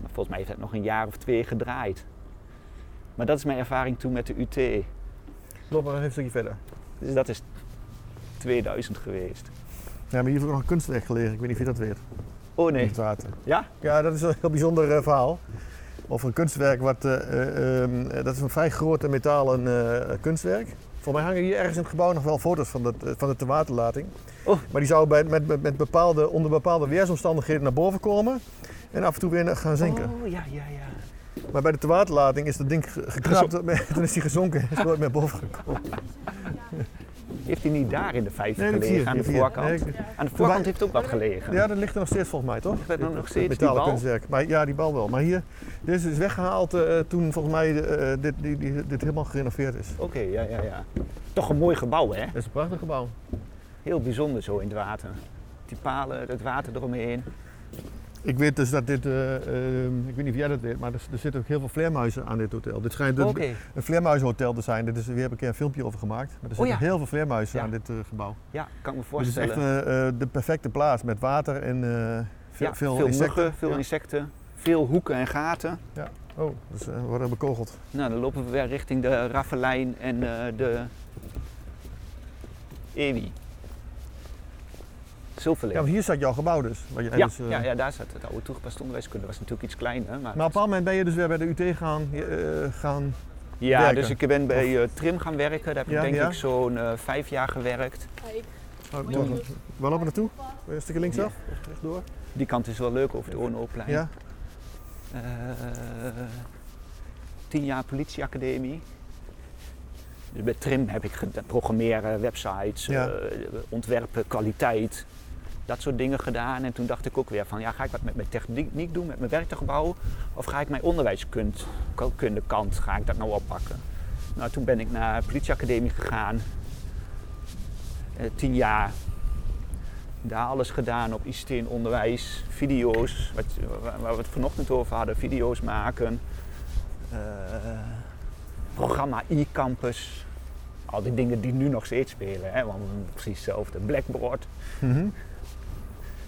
Maar volgens mij heeft dat nog een jaar of twee gedraaid. Maar dat is mijn ervaring toen met de UT.
Loop maar even een stukje verder.
Dus dat is 2000 geweest.
Ja, maar hier heeft ook nog een kunstrecht gelegen. Ik weet niet of je dat weet.
Oh
In
nee.
het water.
Ja?
Ja, dat is een heel bijzonder eh, verhaal. Over een kunstwerk wat... eh, eh, ehm, eh, dat is een vrij groot en metalen eh, kunstwerk. Voor mij hangen hier ergens in het gebouw nog wel foto's van, dat, eh, van de tewaterlating.
Oh.
Maar die zou bij, met, met, met bepaalde, onder bepaalde weersomstandigheden naar boven komen. En af en toe weer gaan zinken.
Oh ja, ja, ja.
Maar bij de tewaterlating is dat ding ge- geknapt. Toen is hij gezonken en is nooit meer boven gekomen.
Heeft hij niet daar in de vijver
Nee, dat
gelegen
zie je,
aan de
dat zie je.
voorkant?
Nee, ik-
Aan de voorkant heeft ook wat gelegen.
Ja, dat ligt er nog steeds volgens mij, toch?
Ik ben dan nog steeds die
Metalen
bal.
kunstwerk. Maar ja, die bal wel. Maar hier, dit is dus weggehaald eh, toen volgens mij eh, dit, die, die- dit helemaal gerenoveerd is.
Oké, ja, ja, ja. Toch een mooi gebouw, hè?
Dat is een prachtig gebouw.
Heel bijzonder zo in het water. Die palen, het water eromheen.
Ik weet dus dat dit, eh, ehm, ik weet niet of jij dat weet, maar er, er zitten ook heel veel vleermuizen aan dit hotel. Dit schijnt
Oké.
een, een vleermuizenhotel te zijn. Dit is, weer heb ik een filmpje over gemaakt. Maar er zitten
Oh ja.
heel veel vleermuizen
Ja.
aan dit eh, gebouw.
Ja, kan ik me
Dit is
voorstellen.
echt eh, eh, de perfecte plaats met water en eh, ve-
ja,
veel,
veel
insecten.
muggen, veel
Ja.
insecten, veel hoeken en gaten.
Oh, dus eh, we worden bekogeld.
Nou, dan lopen we weer richting de Raffelijn en eh, de Ewi.
Ja,
Zilverleeuw.
maar hier staat jouw gebouw dus. waar jij
Ja,
dus, eh,
ja, ja, daar zat het oude toegepast onderwijskunde. was natuurlijk iets kleiner, maar...
Maar op een bepaald moment ben je dus weer bij de UT gaan, eh, gaan
Ja,
werken.
dus ik ben bij eh, Trim gaan werken. Daar heb ik
Ja,
denk
ja.
ik zo'n eh, vijf jaar gewerkt.
Oh, ik moet nog- Waar lopen we naartoe? Weer Een stukje linksaf? Of rechtdoor?
Die kant is wel leuk over de Ornoplein.
Ja.
Eh, tien jaar politieacademie. Dus bij Trim heb ik ged- programmeren, websites,
Ja.
eh, ontwerpen, kwaliteit. Dat soort dingen gedaan. En toen dacht ik ook weer van, ja, ga ik wat met mijn techniek doen, met mijn werktuigbouw? Of ga ik mijn onderwijskunde kant, ga ik dat nou oppakken? Nou, toen ben ik naar de politieacademie gegaan. Eh, tien jaar. Daar alles gedaan op ICT in onderwijs, video's, wat, waar, waar we het vanochtend over hadden, video's maken. Eh, programma e-campus. Al die dingen die nu nog steeds spelen, hè? want we doen precies hetzelfde. Blackboard,
Mhm.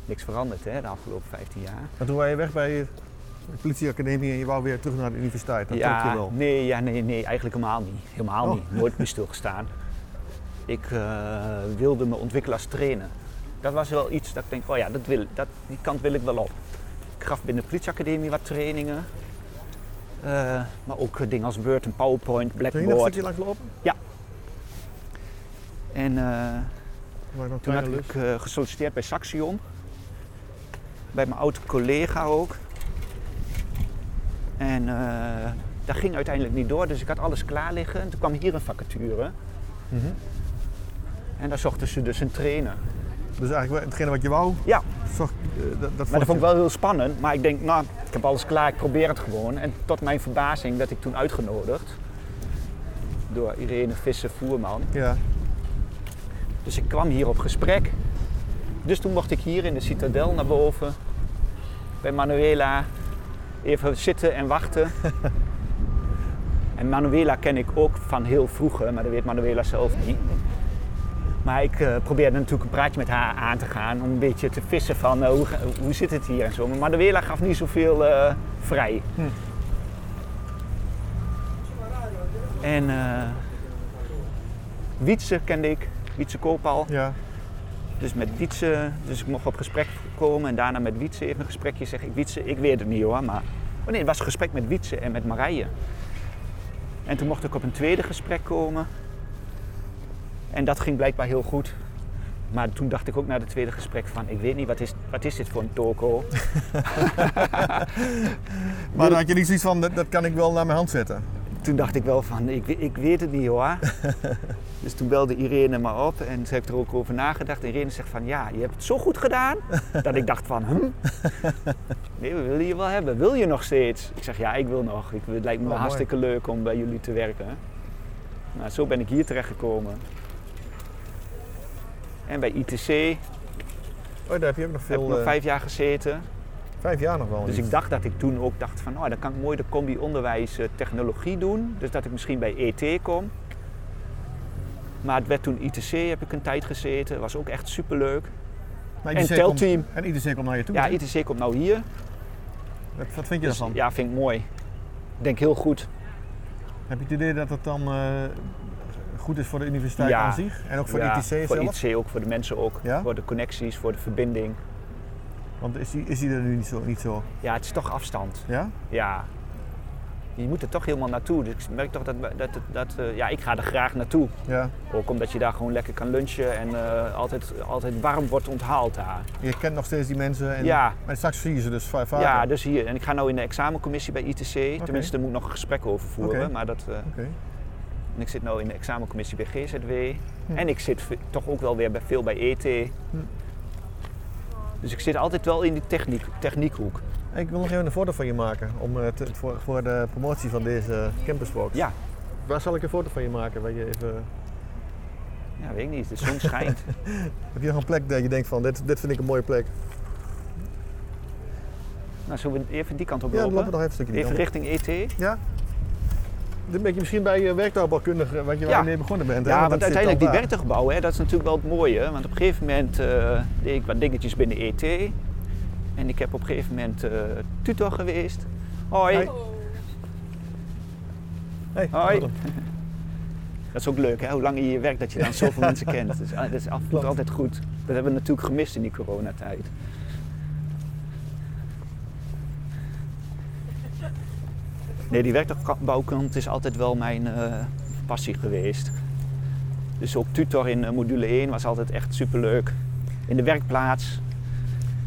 niks veranderd hè, de afgelopen 15 jaar.
Maar toen waren je weg bij de politieacademie en je wou weer terug naar de universiteit. Dat trok je wel.
Nee, ja, nee, nee, eigenlijk helemaal niet. Helemaal
Oh.
niet. Nooit bij stilgestaan. Ik eh, wilde me ontwikkelen als trainer. Dat was wel iets dat ik denk, oh ja, dat wil, dat, die kant wil ik wel op. Ik gaf binnen de politieacademie wat trainingen. Eh, maar ook eh, dingen als Word en PowerPoint,
Kun je nog een
Blackboard.
stukje langs lopen?
En eh,
Maar nog een
Toen had
kleine lus.
ik eh, gesolliciteerd bij Saxion. Bij mijn oude collega ook. En eh, dat ging uiteindelijk niet door, dus ik had alles klaar liggen. En toen kwam hier een vacature.
Mhm.
En daar zochten ze dus een trainer.
Dus eigenlijk hetgene wat je wou,
Ja,
zocht, eh, dat, dat
maar
vond
dat vond ik
je-
wel heel spannend. Maar ik denk, nou, ik heb alles klaar, ik probeer het gewoon. En tot mijn verbazing werd ik toen uitgenodigd. Door Irene Visser-Voerman.
Ja.
Dus ik kwam hier op gesprek. Dus toen mocht ik hier in de citadel naar boven bij Manuela even zitten en wachten. en Manuela ken ik ook van heel vroeger, maar dat weet Manuela zelf niet. Maar ik eh, probeerde natuurlijk een praatje met haar aan te gaan om een beetje te vissen van eh, hoe, ga- hoe zit het hier en zo. Maar Manuela gaf niet zoveel eh, vrij. En eh Wietse kende ik, Wietse Koopal.
ja.
Dus met Wietse, dus ik mocht op gesprek komen en daarna met Wietse even een gesprekje zeg ik Wietse, ik weet het niet hoor, maar oh nee, het was een gesprek met Wietse en met Marije. En toen mocht ik op een tweede gesprek komen. En dat ging blijkbaar heel goed. Maar toen dacht ik ook na het tweede gesprek van, ik weet niet, wat is, wat is dit voor een toko?
Maar dan had je niet zoiets van, dat, dat kan ik wel naar mijn hand zetten.
toen dacht ik wel van, ik, we- ik weet het niet hoor. dus toen belde Irene me op en ze heeft er ook over nagedacht. En Irene zegt van, ja, je hebt het zo goed gedaan. dat ik dacht van, hm? Nee, we willen je wel hebben. Wil je nog steeds? Ik zeg, ja, ik wil nog. Ik, het lijkt me
Oh, mooi.
hartstikke leuk om bij jullie te werken. Nou, zo ben ik hier terechtgekomen. En bij ITC
Oh, daar heb je ook nog
heb
veel.
ik nog
eh,
vijf jaar gezeten.
vijf jaar nog wel.
Dus
niet.
ik dacht dat ik toen ook dacht van, oh, dan kan ik mooi de combi onderwijs eh, technologie doen. Dus dat ik misschien bij ET kom. Maar het werd toen ITC, heb ik een tijd gezeten. Was ook echt superleuk.
Maar
En
ITC
telteam.
Komt, en ITC komt naar je toe.
Ja,
hè?
ITC komt nou hier.
wat, wat vind je
Dus,
daarvan?
ja, vind ik mooi. Ik denk heel goed.
Heb je het idee dat het dan eh, goed is voor de universiteit
Ja.
aan zich? En ook voor
Ja,
ITC zelf?
Voor ITC ook, voor de mensen ook.
Ja?
Voor de connecties, voor de verbinding.
Want is die, is die er nu niet zo? Niet zo?
Ja, het is toch afstand.
Ja?
Ja. Je moet er toch helemaal naartoe. Dus ik merk toch dat... dat, dat, eh, ja, ik ga er graag naartoe.
Ja.
Ook omdat je daar gewoon lekker kan lunchen en eh, altijd, altijd warm wordt onthaald daar.
Je kent nog steeds die mensen. En,
ja,
Maar straks zie je ze dus va- vaker.
ja, dus hier. En ik ga nu in de examencommissie bij ITC. Tenminste, daar moet ik nog een gesprek over voeren.
Oké.
Maar dat, eh,
Oké.
en ik zit nu in de examencommissie bij GZW.
Hm.
En ik zit ve- toch ook wel weer bij, veel bij ET. Dus ik zit altijd wel in die techniek, techniekhoek.
Ik wil nog even een foto van je maken om, eh, te- voor, voor de promotie van deze campuswalk.
Ja.
Waar zal ik een foto van je maken? Waar je even...
Ja, weet ik niet. De zon schijnt.
Heb je nog een plek dat je denkt van dit, dit vind ik een mooie plek?
nou, zullen we even die kant op
Ja, dan
lopen?
lopen we nog even een stukje die
even
kant op.
richting E ET.
Ja? Een beetje misschien bij je werktuigbouwkundige, wat je waar
Ja.
je mee begonnen bent. hè?
Ja, want
dat zit
uiteindelijk die
dan daar.
werktuigbouw, hè, dat is natuurlijk wel het mooie. hè. Want op een gegeven moment eh, deed ik wat dingetjes binnen ET. En ik heb op een gegeven moment eh, tutor geweest. Hoi.
Hoi. Hey,
Hoi.
Adam.
Dat is ook leuk, hè? hoe langer je hier werkt, dat je dan zoveel mensen kent. Dus, ah, dat is af en toe
Klopt.
altijd goed. Dat hebben we natuurlijk gemist in die coronatijd. Nee, die werktuigbouwkant is altijd wel mijn eh, passie geweest. Dus ook tutor in eh, module 1 was altijd echt superleuk. In de werkplaats,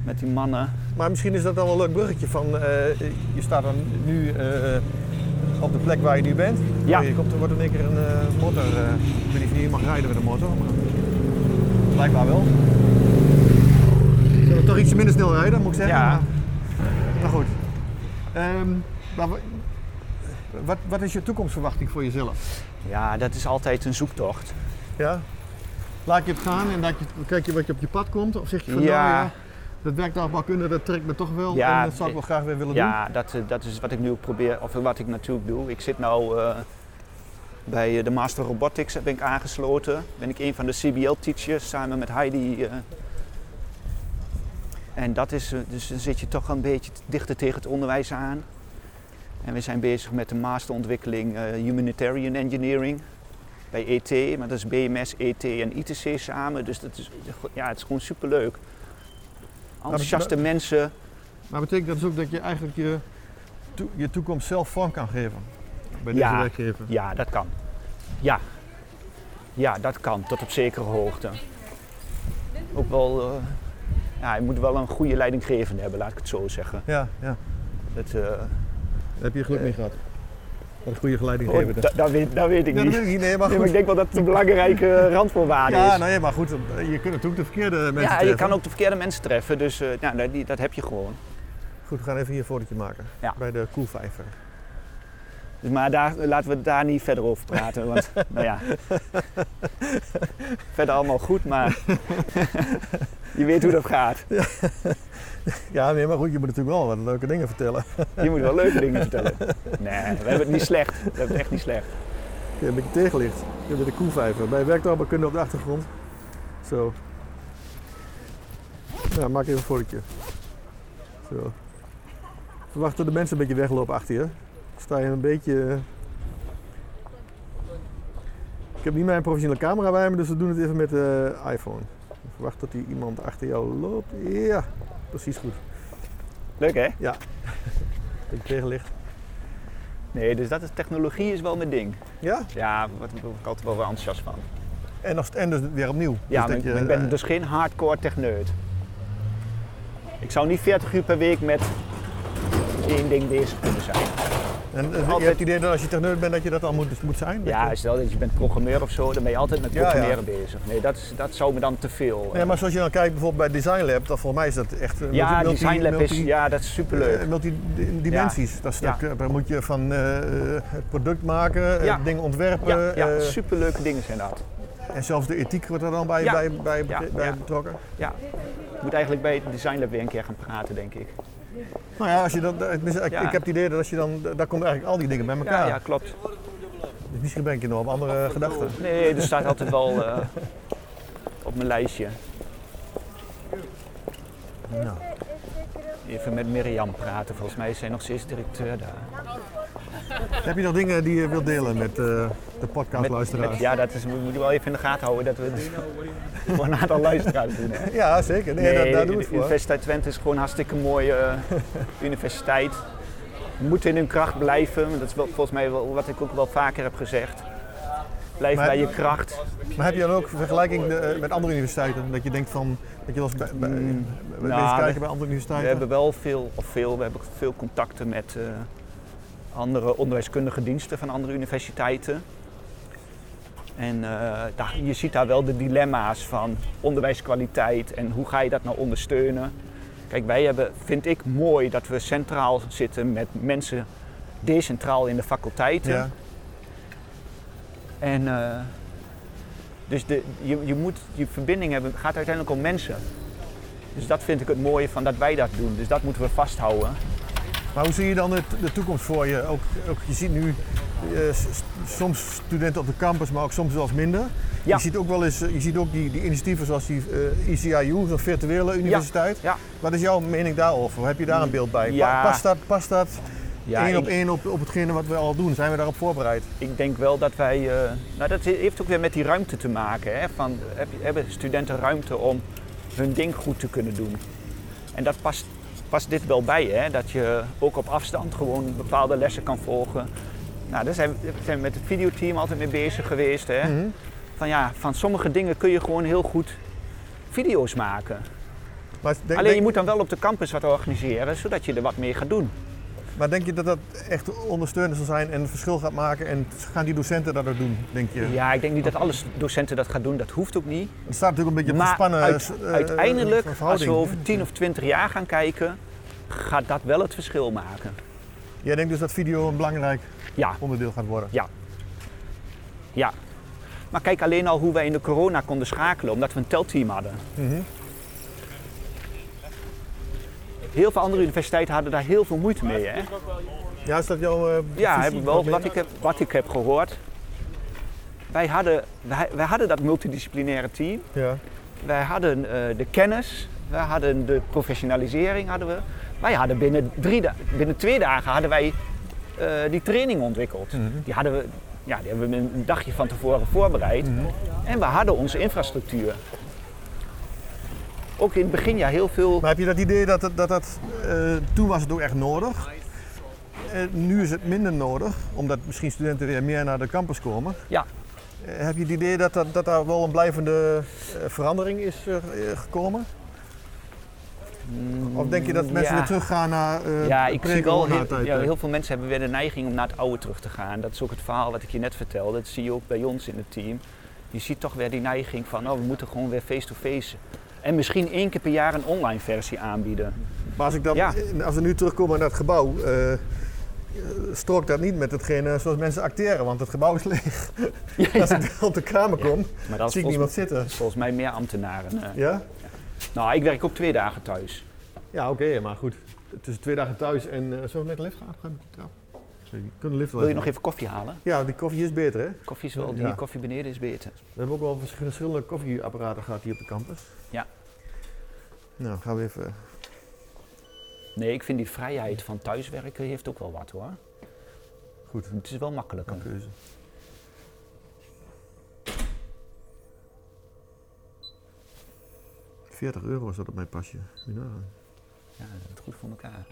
met die mannen.
Maar misschien is dat dan wel een leuk bruggetje van eh, je staat dan nu eh, op de plek waar je nu bent.
Ja.
Oh, je komt, er wordt in één keer een eh, motor. eh, ik weet niet of je hier mag rijden met een motor, maar blijkbaar wel. Zullen we toch ietsje minder snel rijden, moet ik zeggen.
Ja.
Maar, maar goed. Ehm, maar wa- wat, wat is je toekomstverwachting voor jezelf?
Ja, dat is altijd een zoektocht.
Ja? Laat je het gaan en laat je, kijk je wat je op je pad komt? Of zeg je van
Ja.
nou ja, dat werktuigbouwkunde dat trekt me toch wel
Ja,
en dat zou ik wel graag weer willen doen?
Ja, dat, eh, dat is wat ik nu ook probeer, of wat ik natuurlijk doe. Ik zit nu bij eh, de Master Robotics, ben ik aangesloten. Ben ik een van de CBL-teachers samen met Heidi. eh. en dat is, eh, dus dan zit je toch een beetje t- dichter tegen het onderwijs aan. En we zijn bezig met de masterontwikkeling eh, Humanitarian Engineering bij ET, maar dat is BMS, ET E en ITC samen. Dus dat is, ja, het is gewoon superleuk. Enthousiaste mensen.
Maar betekent dat dus ook dat je eigenlijk je, toe- je toekomst zelf vorm kan geven? Bij deze
Ja.
werkgever?
Ja, dat kan. Ja. Ja, dat kan, tot op zekere hoogte. Ook wel, eh, ja, je moet wel een goede leidinggevende hebben, laat ik het zo zeggen.
Ja, ja.
Dat, eh,
Daar heb je geluk mee gehad. Wat een goede
oh,
geleidinggever.
da- dat, weet, dat weet ik
ja, dat
niet.
weet ik niet, nee, maar
Nee, maar
goed.
ik denk wel dat het een belangrijke eh, randvoorwaarde
Ja,
is.
nee, maar goed, je kunt natuurlijk de verkeerde mensen
ja, je
treffen.
kan ook de verkeerde mensen treffen, dus eh, nou, dat, die- dat heb je gewoon.
Goed, we gaan even hier een fotootje maken.
Ja.
Bij de koelvijver.
Dus, maar daar, laten we daar niet verder over praten, want nou ja. Verder allemaal goed, maar je weet hoe dat gaat.
Ja, nee, maar goed, je moet natuurlijk wel wat leuke dingen vertellen.
Je moet wel leuke dingen vertellen. Nee, we hebben het niet slecht. We hebben het echt niet slecht.
Je hebt een beetje tegenlicht. Je bent de koelvijver. Bij werktuigbouwkunde op de achtergrond. Zo. Ja, maak even een fotootje. Zo. Verwacht dat de mensen een beetje weglopen achter je. Sta je een beetje... eh. Ik heb niet mijn professionele camera bij me, dus we doen het even met de iPhone. Ik Verwacht dat hier iemand achter jou loopt. Ja, precies goed.
Leuk hè?
Beetje tegenlicht.
Nee, dus dat is, technologie is wel mijn ding.
Ja?
Ja, daar word ik altijd wel weer enthousiast van.
En, nog, en dus weer opnieuw.
Ja,
Dus
maar
dat
ik,
je,
ik ben
eh,
dus geen hardcore techneut. Ik zou niet 40 uur per week met één ding bezig kunnen zijn.
En eh, je
Altijd-
hebt het idee dat als je techneut bent dat je dat al moet, moet zijn?
Ja, stel dat je bent programmeur of zo, dan ben je altijd met
Ja, ja.
programmeren bezig. Nee, dat, is, dat zou me dan te veel. eh.
Nee, maar zoals je dan kijkt bijvoorbeeld bij Design Lab, dan volgens mij is dat echt... eh,
ja,
multi- multi-
Design Lab is,
multi-
ja, dat is superleuk.
eh, Multidimensies, dat stuk.
Ja.
Daar moet je van eh, eh, het product maken, eh,
Ja.
het ding ontwerpen.
Ja, ja,
eh,
superleuke dingen zijn dat.
en zelfs de ethiek wordt er dan bij,
Ja.
bij, bij,
Ja,
bij
ja.
betrokken.
Ja. Ik moet eigenlijk bij het Design Lab weer een keer gaan praten, denk ik.
Nou ja, als je dat, eh, tenminste, ik,
Ja.
ik heb het idee dat als je dan, daar komen eigenlijk al die dingen bij
Ja,
elkaar.
ja, klopt.
Dus misschien ben ik hier nog op andere eh, gedachten.
Nee, er staat altijd wel eh, op mijn lijstje.
Nou.
Even met Mirjam praten, volgens mij is zij nog steeds directeur daar.
Heb je nog dingen die je wilt delen met eh, de podcastluisteraars?
met- ja, dat is, we moeten wel even in de gaten houden dat we het voor een aantal luisteraars doen. Hè.
Ja, zeker. Nee, daar, daar doen we
de
het voor.
Universiteit Twente is gewoon een hartstikke mooie eh, universiteit. We moeten in hun kracht blijven. Dat is wel, volgens mij wel, wat ik ook wel vaker heb gezegd. Blijf
Maar-
bij je kracht.
Maar heb je dan ook vergelijking eh, met andere universiteiten? Dat je denkt van, dat je wel eens bij, bij,
Mm,
bij-
nou,
bezig kijken
we-
bij andere
We
universiteiten?
hebben wel veel, of veel, we hebben veel contacten met eh, andere onderwijskundige diensten van andere universiteiten. En eh, daar, je ziet daar wel de dilemma's van onderwijskwaliteit en hoe ga je dat nou ondersteunen. Kijk, wij hebben, vind ik mooi dat we centraal zitten met mensen decentraal in de faculteiten.
ja.
En eh, dus de, je, je moet je verbinding hebben, het gaat uiteindelijk om mensen. Dus dat vind ik het mooie van dat wij dat doen. Dus dat moeten we vasthouden.
Maar hoe zie je dan het, de toekomst voor je? Ook, ook, je ziet nu eh, s- s- soms studenten op de campus, maar ook soms zelfs minder.
Ja.
Je ziet ook wel eens, eh, je ziet ook die, die initiatieven zoals die eh, ECIU, zo'n virtuele universiteit.
ja.
Wat is jouw mening daarover? Heb je daar een beeld bij? Pa-
Ja.
Past dat, past dat
Ja,
één
ik,
op één op, op hetgene wat we al doen? Zijn we daarop voorbereid?
ik denk wel dat wij. eh, nou, dat heeft ook weer met die ruimte te maken. Hè? Van, heb, je- hebben studenten ruimte om hun ding goed te kunnen doen? En dat past, past dit wel bij, hè? dat je ook op afstand gewoon bepaalde lessen kan volgen. Nou, daar zijn, we- daar zijn we met het videoteam altijd mee bezig geweest. Hè?
Mhm.
Van, ja, van sommige dingen kun je gewoon heel goed video's maken.
Maar denk,
Alleen je
denk-
moet dan wel op de campus wat organiseren, zodat je er wat mee gaat doen.
Maar denk je dat dat echt ondersteunend zal zijn en het verschil gaat maken? En gaan die docenten dat ook doen, denk je?
Ja, ik denk niet dat alle docenten dat gaan doen, dat hoeft ook niet.
Het staat natuurlijk een beetje op
Maar
gespannen
uit-
eh, eh,
uiteindelijk, als
verhouding.
we over 10 of 20 jaar gaan kijken, gaat dat wel het verschil maken.
Jij denkt dus dat video een belangrijk
Ja,
onderdeel gaat worden?
ja. Maar kijk alleen al hoe wij in de corona konden schakelen, omdat we een telteam hadden.
Mhm.
Heel veel andere universiteiten hadden daar heel veel moeite mee. Hè?
Ja, is dat jouw... eh,
Ja,
visie
heb ik wel,
probleem?
wat, ik heb, wat ik heb gehoord. Wij hadden, wij, wij hadden dat multidisciplinaire team.
Ja.
Wij hadden eh, de kennis, wij hadden de professionalisering. Hadden we. Wij hadden binnen, drie da- binnen twee dagen hadden wij eh, die training ontwikkeld. Die, hadden we, ja, die hebben we een dagje van tevoren voorbereid. En we hadden onze infrastructuur. Ook in het beginjaar heel veel.
Maar heb je dat idee dat dat... dat, dat, eh, toen was het ook echt nodig. Eh, nu is het minder nodig, omdat misschien studenten weer meer naar de campus komen.
Ja.
Eh, heb je het idee dat, dat, dat daar wel een blijvende eh, verandering is eh, eh, gekomen? Of denk je dat mensen
Mm, ja.
weer teruggaan naar eh
ja, ik zie wel heel,
pre-corona-tijd?
ja, heel veel mensen hebben weer de neiging om naar het oude terug te gaan. Dat is ook het verhaal wat ik je net vertelde. Dat zie je ook bij ons in het team. Je ziet toch weer die neiging van, oh, we moeten gewoon weer face-to-face. En misschien één keer per jaar een online versie aanbieden.
Maar als, ik dat,
Ja.
als we nu terugkomen naar het gebouw, eh, eh, strookt dat niet met hetgene zoals mensen acteren, want het gebouw is leeg.
Ja,
Als ik op de kamer kom,
Maar dat
zie
is
ik niemand
volgens,
zitten.
volgens mij meer ambtenaren. eh.
Ja?
Nou, ik werk ook twee dagen thuis.
Ja, oké, maar goed. Tussen twee dagen thuis en... zo zullen we met de lift gaan? Gaan we met de trap? Sorry, ik kan de lift wel
Wil je nog
even-
even koffie halen?
Ja, die koffie is beter, hè? We
Koffie is wel,
Ja.
die koffie beneden is beter.
hebben ook wel vers- verschillende koffieapparaten gehad hier op de campus.
Ja.
Nou, gaan we even...
Nee, ik vind die vrijheid van thuiswerken heeft ook wel wat hoor.
Goed.
Het is wel makkelijker.
Keuze. €40 euro is dat op mijn pasje. Moet je nagaan.
Ja, dat is goed voor elkaar.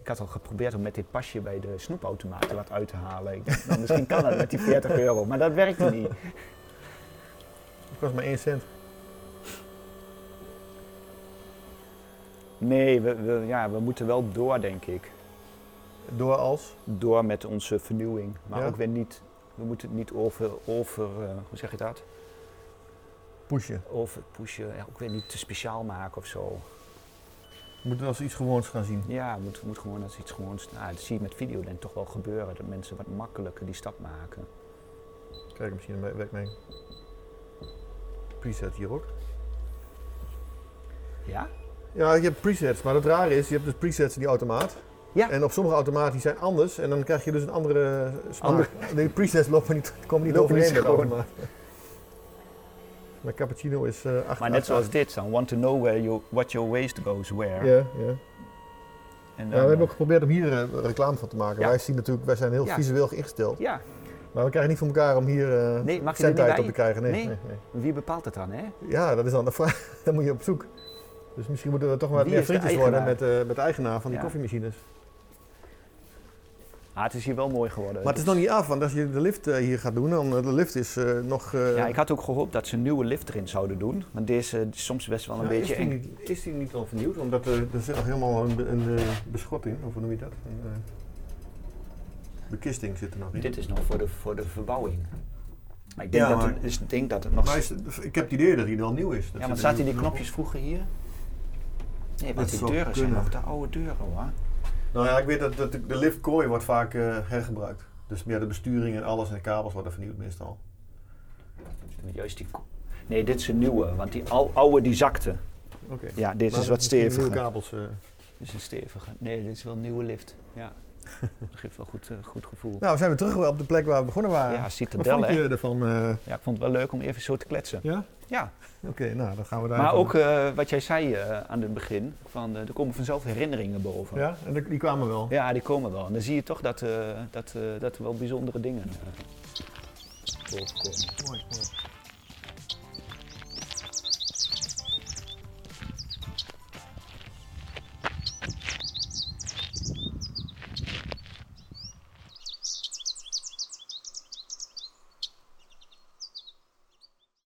Ik had al geprobeerd om met dit pasje bij de snoepautomaten wat uit te halen. Ik dacht, nou, misschien kan dat met die 40 euro, maar dat werkte niet.
Het kost maar 1 cent.
Nee, we, we- ja, we moeten wel door, denk ik.
Door als?
door met onze vernieuwing. Maar
Ja.
ook weer niet, we moeten het niet over, over eh, hoe zeg je dat?
Pushen.
Over pushen, ja, ook weer niet te speciaal maken of zo.
We moeten als iets gewoons gaan zien.
Ja, moet, moet gewoon als iets gewoon. Nou, dat zie je met video dan toch wel gebeuren, dat mensen wat makkelijker die stap maken.
Kijk, misschien we- werkt mijn preset hier ook.
Ja?
Ja, je hebt presets, maar het rare is, je hebt dus presets in die automaat.
Ja.
En op sommige automaten die zijn anders en dan krijg je dus een andere eh, smaak. De presets lopen niet, komen niet
Lopen
overeen
niet
met de
gewoon.
automaat. Mijn cappuccino is eh acht-
Maar net
acht-
zoals
acht-
dit dan, want to know where you, what your waste goes where.
Ja,
En
ja. Ja,
dan,
we hebben ook
eh,
geprobeerd om hier eh, reclame van te maken.
Ja.
Wij, zien natuurlijk, wij zijn heel
Ja.
visueel ingesteld.
ja,
Maar we krijgen niet voor elkaar om hier eh
Nee, mag je er
cent
niet
uit
bij?
op te krijgen. Nee,
Nee.
nee, nee.
wie bepaalt het dan, hè?
Ja, dat is dan de vraag. Dan moet je op zoek. Dus misschien moeten we toch maar
Wie
meer
is de
vriendjes worden met,
eigenaar?
eh, met de eigenaar van die
Ja.
koffiemachines.
Ah, het is hier wel mooi geworden.
Maar het is
Dus-
nog niet af, want als je de lift eh, hier gaat doen, dan eh, de lift is eh, nog... eh,
Ja, ik had ook gehoopt dat ze een nieuwe lift erin zouden doen. Want deze eh, is soms best wel een
nou,
beetje
is die
eng.
niet- Is die niet al vernieuwd? Omdat eh, er zit nog helemaal een, be- een eh, beschot in, of hoe noem je dat? Een eh, bekisting zit er nog in.
Dit is nog voor de, voor de verbouwing. Maar ik
Ja,
denk, dat,
maar-
het, is- ik denk dat het nog...
Maar is, ik heb het idee dat hij wel nieuw is. Dat
ja,
zit
maar
er
zaten
nu-
die knopjes vroeger hier? Nee,
Dat
want die
zou
deuren zijn
kunnen.
nog de oude deuren hoor.
Nou ja, ik weet dat, dat de de liftkooi wordt vaak eh, hergebruikt. Dus meer de besturing en alles en de kabels worden vernieuwd meestal.
Juist die... ko- Nee, dit is een nieuwe, want die ou- oude die zakte.
Oké.
Ja, dit
Maar
is wat
misschien nieuwe
steviger.
kabels. eh.
Dit is een stevige. Nee, dit is wel een nieuwe lift. Ja. Dat geeft wel goed, eh, goed gevoel.
Nou, we zijn we terug op de plek waar we begonnen waren.
Ja,
Wat
citadel
vond
hè.
je ervan? eh?
Ja, ik vond het wel leuk om even zo te kletsen.
ja?
Ja,
Oké, nou, dan gaan we daar
maar
even-
ook eh, wat jij zei eh, aan het begin, van, eh, er komen vanzelf herinneringen boven.
Ja, en die die kwamen wel.
Ja, die komen wel. En dan zie je toch dat, eh, dat, eh, dat er wel bijzondere dingen eh, boven komen.
Mooi, mooi.